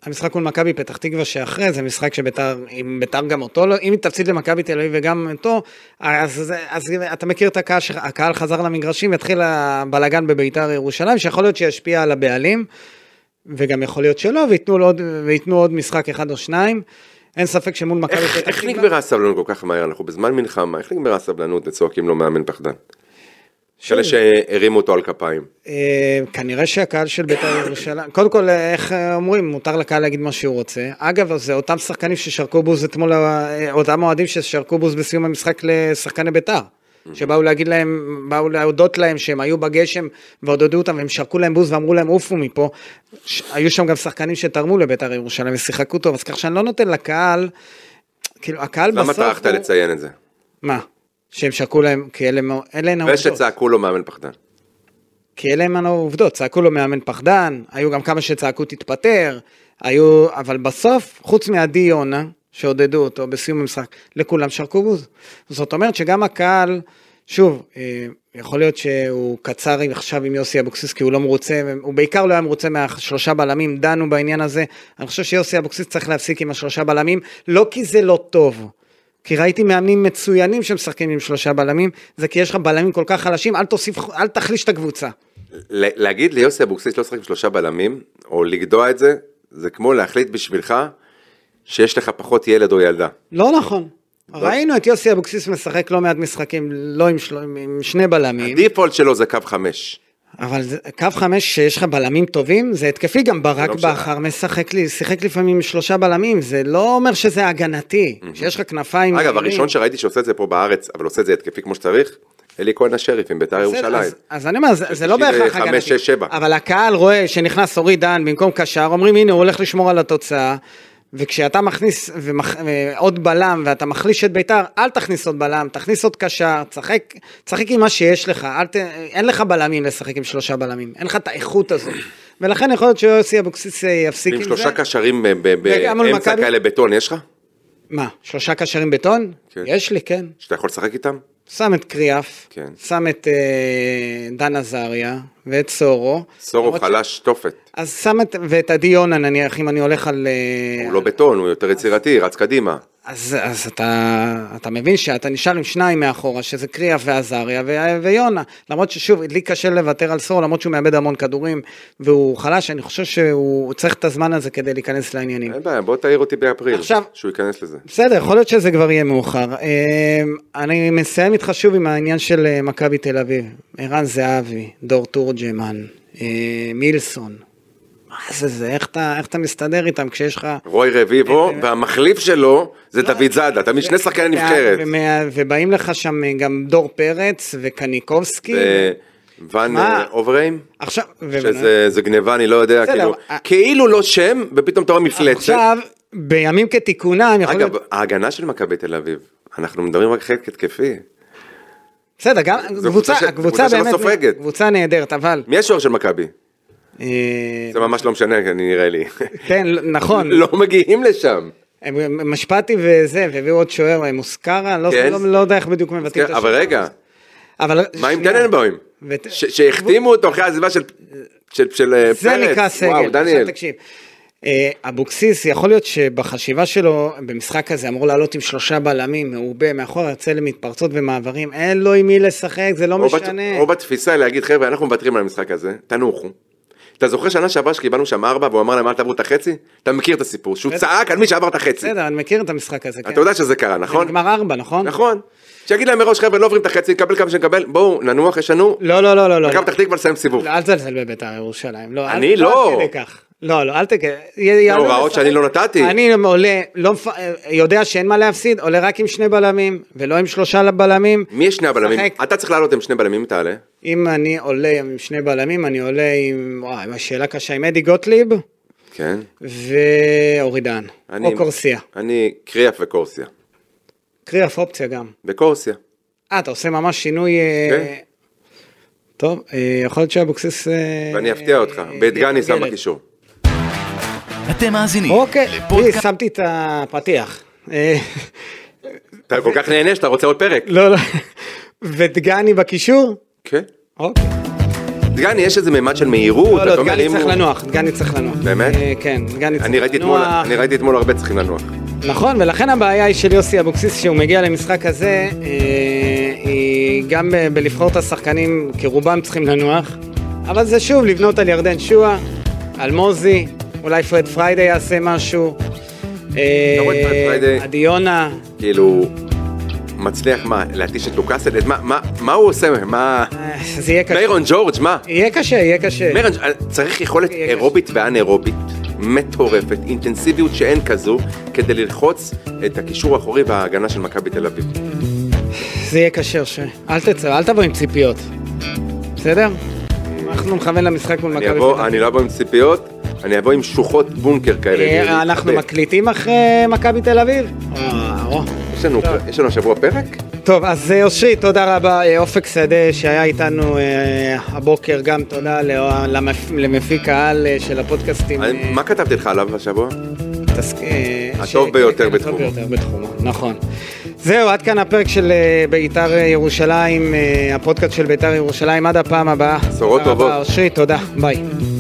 Speaker 2: המשחק מול מכבי פתח תקווה שאחרי, זה משחק שביתר, אם ביתר גם אותו, לא, אם היא תפסיד למכבי תל אביב וגם אותו, אז, אז אתה מכיר את הקהל, הקהל חזר למגרשים, התחיל הבלגן בביתר ירושלים, שיכול להיות שישפיע על הבעלים, וגם יכול להיות שלא, וייתנו עוד, וייתנו עוד משחק אחד או שניים. אין ספק שמול מכבי
Speaker 3: פתח תקווה... איך נגמרה הסבלנות כל כך מהר? אנחנו בזמן מלחמה, איך נגמרה הסבלנות וצועקים לו מאמן פחדן? כאלה שהרימו אותו על כפיים.
Speaker 2: אה, כנראה שהקהל של בית"ר ירושלים, קודם כל, איך אה, אומרים, מותר לקהל להגיד מה שהוא רוצה. אגב, זה אותם שחקנים ששרקו בוז אתמול, אה, אותם אוהדים ששרקו בוז בסיום המשחק לשחקני בית"ר.
Speaker 3: Mhm.
Speaker 2: שבאו להגיד להם, באו להודות להם שהם היו בגשם ועודדו אותם והם שרקו להם בוז ואמרו להם עופו מפה. ש... היו שם גם שחקנים שתרמו לבית"ר ירושלים ושיחקו טוב, אז כך שאני לא נותן לקהל, כאילו הקהל
Speaker 3: בסוף... למה טרחת
Speaker 2: הוא...
Speaker 3: לציין את זה?
Speaker 2: מה? שהם שקעו להם, כי אלה הן העובדות.
Speaker 3: ושצעקו לו מאמן פחדן.
Speaker 2: כי אלה הן העובדות, צעקו לו מאמן פחדן, היו גם כמה שצעקו תתפטר, היו, אבל בסוף, חוץ מעדי יונה, שעודדו אותו בסיום המשחק, לכולם שרקו בוז. זאת אומרת שגם הקהל, שוב, אה, יכול להיות שהוא קצר עכשיו עם יוסי אבוקסיס כי הוא לא מרוצה, הוא בעיקר לא היה מרוצה מהשלושה בלמים, דנו בעניין הזה. אני חושב שיוסי אבוקסיס צריך להפסיק עם השלושה בלמים, לא כי זה לא טוב. כי ראיתי מאמנים מצוינים שמשחקים עם שלושה בלמים, זה כי יש לך בלמים כל כך חלשים, אל תוסיף, אל תחליש את הקבוצה.
Speaker 3: להגיד ליוסי אבוקסיס לא לשחק עם שלושה בלמים, או לגדוע את זה, זה כמו להחליט בשבילך שיש לך פחות ילד או ילדה.
Speaker 2: לא נכון. ראינו את יוסי אבוקסיס משחק לא מעט משחקים, לא עם, של... עם שני בלמים.
Speaker 3: הדיפולט שלו זה קו חמש.
Speaker 2: אבל קו חמש שיש לך בלמים טובים, זה התקפי גם ברק לא בכר משחק לי, שיחק לפעמים עם שלושה בלמים, זה לא אומר שזה הגנתי, mm-hmm. שיש לך כנפיים.
Speaker 3: אגב, מהירים. הראשון שראיתי שעושה את זה פה בארץ, אבל עושה את זה התקפי כמו שצריך, אלי כהן השריף עם בית"ר ירושלים.
Speaker 2: אז, אז אני אומר, זה, זה לא בהכרח הגנתי.
Speaker 3: 5, 6, 7.
Speaker 2: אבל הקהל רואה שנכנס אורי דן במקום קשר, אומרים הנה הוא הולך לשמור על התוצאה. וכשאתה מכניס ומח... עוד בלם ואתה מחליש את ביתר, אל תכניס עוד בלם, תכניס עוד קשר, תשחק, תשחק עם מה שיש לך, ת... אין לך בלמים לשחק עם שלושה בלמים, אין לך את האיכות הזאת. ולכן יכול להיות שיוסי אבוקסיס אה, יפסיק עם,
Speaker 3: עם זה. עם שלושה קשרים אה, באמצע כאלה בטון יש לך?
Speaker 2: מה, שלושה קשרים בטון? כן. יש לי, כן.
Speaker 3: שאתה יכול לשחק איתם?
Speaker 2: שם את קריאף,
Speaker 3: כן.
Speaker 2: שם את אה, דן עזריה ואת סורו.
Speaker 3: סורו חלש ש... תופת.
Speaker 2: אז שם את, ואת עדי יונה נניח, אם אני הולך על... אה,
Speaker 3: הוא על... לא בטון, הוא יותר יצירתי, רץ קדימה.
Speaker 2: אז, אז אתה, אתה מבין שאתה נשאר עם שניים מאחורה, שזה קריאף ועזריה ו- ויונה. למרות ששוב, לי קשה לוותר על סורו, למרות שהוא מאבד המון כדורים, והוא חלש, אני חושב שהוא צריך את הזמן הזה כדי להיכנס לעניינים.
Speaker 3: אין בעיה, בוא תעיר אותי באפריל, עכשיו, שהוא ייכנס לזה.
Speaker 2: בסדר, יכול להיות שזה כבר יהיה מאוחר. אה, אני מסיים איתך שוב עם העניין של אה, מכבי תל אביב. ערן זהבי, דור תורג'מן, אה, מילסון, מה זה זה, איך אתה, איך אתה מסתדר איתם כשיש לך...
Speaker 3: רוי רביבו, והמחליף שלו זה אה, לא, אה, דוד זאדה, אתה משני שחקני נבחרת.
Speaker 2: ובאים לך שם גם דור פרץ וקניקובסקי.
Speaker 3: ון אוברהיים?
Speaker 2: עכשיו...
Speaker 3: אה, שזה גניבה, אני לא יודע, כאילו, כאילו לא שם, ופתאום אתה רואה מפלצת.
Speaker 2: אה, עכשיו, בימים כתיקונם יכול
Speaker 3: להיות... אגב, ההגנה של מכבי תל אביב, אנחנו מדברים רק חלק התקפי.
Speaker 2: בסדר, גם קבוצה, הקבוצה באמת, קבוצה נהדרת, אבל... אה,
Speaker 3: מי השוער של מכבי? זה ממש לא משנה, נראה לי.
Speaker 2: כן, נכון.
Speaker 3: לא מגיעים לשם.
Speaker 2: הם משפטי וזה, והביאו עוד שוער, אה, מוסקרה, לא יודע איך בדיוק מבטאים את
Speaker 3: השוער. כן. אבל רגע, מה עם טננבוים? שהחתימו אותו אחרי העזיבה של אה, פרץ.
Speaker 2: זה נקרא סגל. עכשיו תקשיב. אה, אבוקסיס, יכול להיות שבחשיבה שלו, במשחק הזה אמור לעלות עם שלושה בלמים, מעובה, מאחור יוצא למתפרצות ומעברים, אין לו עם מי לשחק, זה לא משנה.
Speaker 3: או בתפיסה להגיד, חבר'ה, אנחנו מוותרים על המשחק הזה, תנוחו. אתה זוכר שנה שעברה שקיבלנו שם ארבע והוא אמר להם אל תעברו את החצי? אתה מכיר את הסיפור, שהוא צעק על מי שעבר את החצי.
Speaker 2: בסדר, אני מכיר את המשחק הזה, כן.
Speaker 3: אתה יודע שזה קרה, נכון?
Speaker 2: נגמר ארבע, נכון?
Speaker 3: נכון. שיגיד להם מראש, חבר'ה, לא עוברים את החצי, נקבל כמה שנקבל, בואו, ננוח, יש לנו.
Speaker 2: לא, לא, לא, לא.
Speaker 3: מכבי פתח תקווה לסיים סיבוב.
Speaker 2: אל תזלזל בבית"ר ירושלים.
Speaker 3: אני לא.
Speaker 2: לא, לא, אל תגיד.
Speaker 3: זה הוראות שאני לא נתתי.
Speaker 2: אני עולה, לא, יודע שאין מה להפסיד, עולה רק עם שני בלמים, ולא עם שלושה בלמים.
Speaker 3: מי שני הבלמים? אתה צריך לעלות עם שני בלמים, אם תעלה.
Speaker 2: אם אני עולה עם שני בלמים, אני עולה עם, וואי, שאלה קשה, עם אדי גוטליב.
Speaker 3: כן.
Speaker 2: ואורידן. או קורסיה.
Speaker 3: אני קריאף וקורסיה.
Speaker 2: קריאף אופציה גם.
Speaker 3: וקורסיה.
Speaker 2: אה, אתה עושה ממש שינוי... כן. טוב, יכול להיות אה, שאבוקסיס... אה,
Speaker 3: ואני אפתיע אותך, בית גני שם בקישור.
Speaker 1: אתם מאזינים
Speaker 2: אוקיי,
Speaker 1: לפודקאסט...
Speaker 2: לי, שמתי את הפתיח. אה,
Speaker 3: אתה כל כך נהנה שאתה רוצה עוד פרק.
Speaker 2: לא, לא. ודגני בקישור?
Speaker 3: כן.
Speaker 2: אוקיי.
Speaker 3: דגני, יש איזה ממד של מהירות.
Speaker 2: לא,
Speaker 3: אתה
Speaker 2: לא,
Speaker 3: אומר,
Speaker 2: דגני
Speaker 3: אם
Speaker 2: צריך
Speaker 3: הוא-
Speaker 2: לנוח, דגני צריך לנוח.
Speaker 3: באמת?
Speaker 2: אה, כן, דגני
Speaker 3: אני
Speaker 2: צריך
Speaker 3: ראיתי אתמול-
Speaker 2: לנוח.
Speaker 3: אני ראיתי אתמול הרבה צריכים לנוח.
Speaker 2: נכון, ולכן הבעיה היא של יוסי אבוקסיס, שהוא מגיע למשחק הזה, אה, היא גם ב- בלבחור את השחקנים, כי רובם צריכים לנוח, אבל זה שוב לבנות על ירדן שואה, על מוזי, אולי פרד פריידי יעשה משהו, אה,
Speaker 3: אתה לא רואה את פרד פריידי?
Speaker 2: עדי יונה,
Speaker 3: כאילו, מצליח מה, להתיש את לוקאסל? את מה- מה- מה הוא עושה? מה...
Speaker 2: אה, זה יהיה קשה. אה.
Speaker 3: מיירון ג'ורג', מה?
Speaker 2: יהיה קשה, יהיה קשה.
Speaker 3: מרן, צריך יכולת
Speaker 2: יהיה קשה.
Speaker 3: אירובית ואנאירובית מטורפת, אינטנסיביות שאין כזו, כדי ללחוץ את הקישור האחורי וההגנה של מכבי תל אביב.
Speaker 2: זה יהיה קשה, אושר. אל תצא, אל תבוא עם ציפיות. בסדר? אנחנו נכוון למשחק מול מכבי.
Speaker 3: אני אבוא,
Speaker 2: פתח
Speaker 3: אני לא אבוא עם ציפיות, אני אבוא עם שוחות בונקר כאלה.
Speaker 2: תקווה. אה,
Speaker 3: להתאבד.
Speaker 2: אנחנו מקליטים אחרי מכבי תל אביב? אה, או.
Speaker 3: יש לנו- יש לנו השבוע פרק?
Speaker 2: טוב, אז אה, אושרי, תודה רבה. אה, אופק שדה שהיה איתנו אה, הבוקר, גם תודה ל- למפ- למפיק העל אה, של הפודקאסטים.
Speaker 3: אני-
Speaker 2: אה,
Speaker 3: מה כתבתי לך עליו השבוע?
Speaker 2: תס- אה,
Speaker 3: הטוב
Speaker 2: ש-
Speaker 3: ביותר
Speaker 2: כן,
Speaker 3: בתחומו.
Speaker 2: הטוב ביותר בתחומו, נכון. זהו, עד כאן הפרק של אה, בית"ר אה, ירושלים, אה, הפודקאסט של בית"ר ירושלים, עד הפעם הבאה.
Speaker 3: בשורות
Speaker 2: תודה רבה,
Speaker 3: טובות.
Speaker 2: אושרי, תודה, ביי.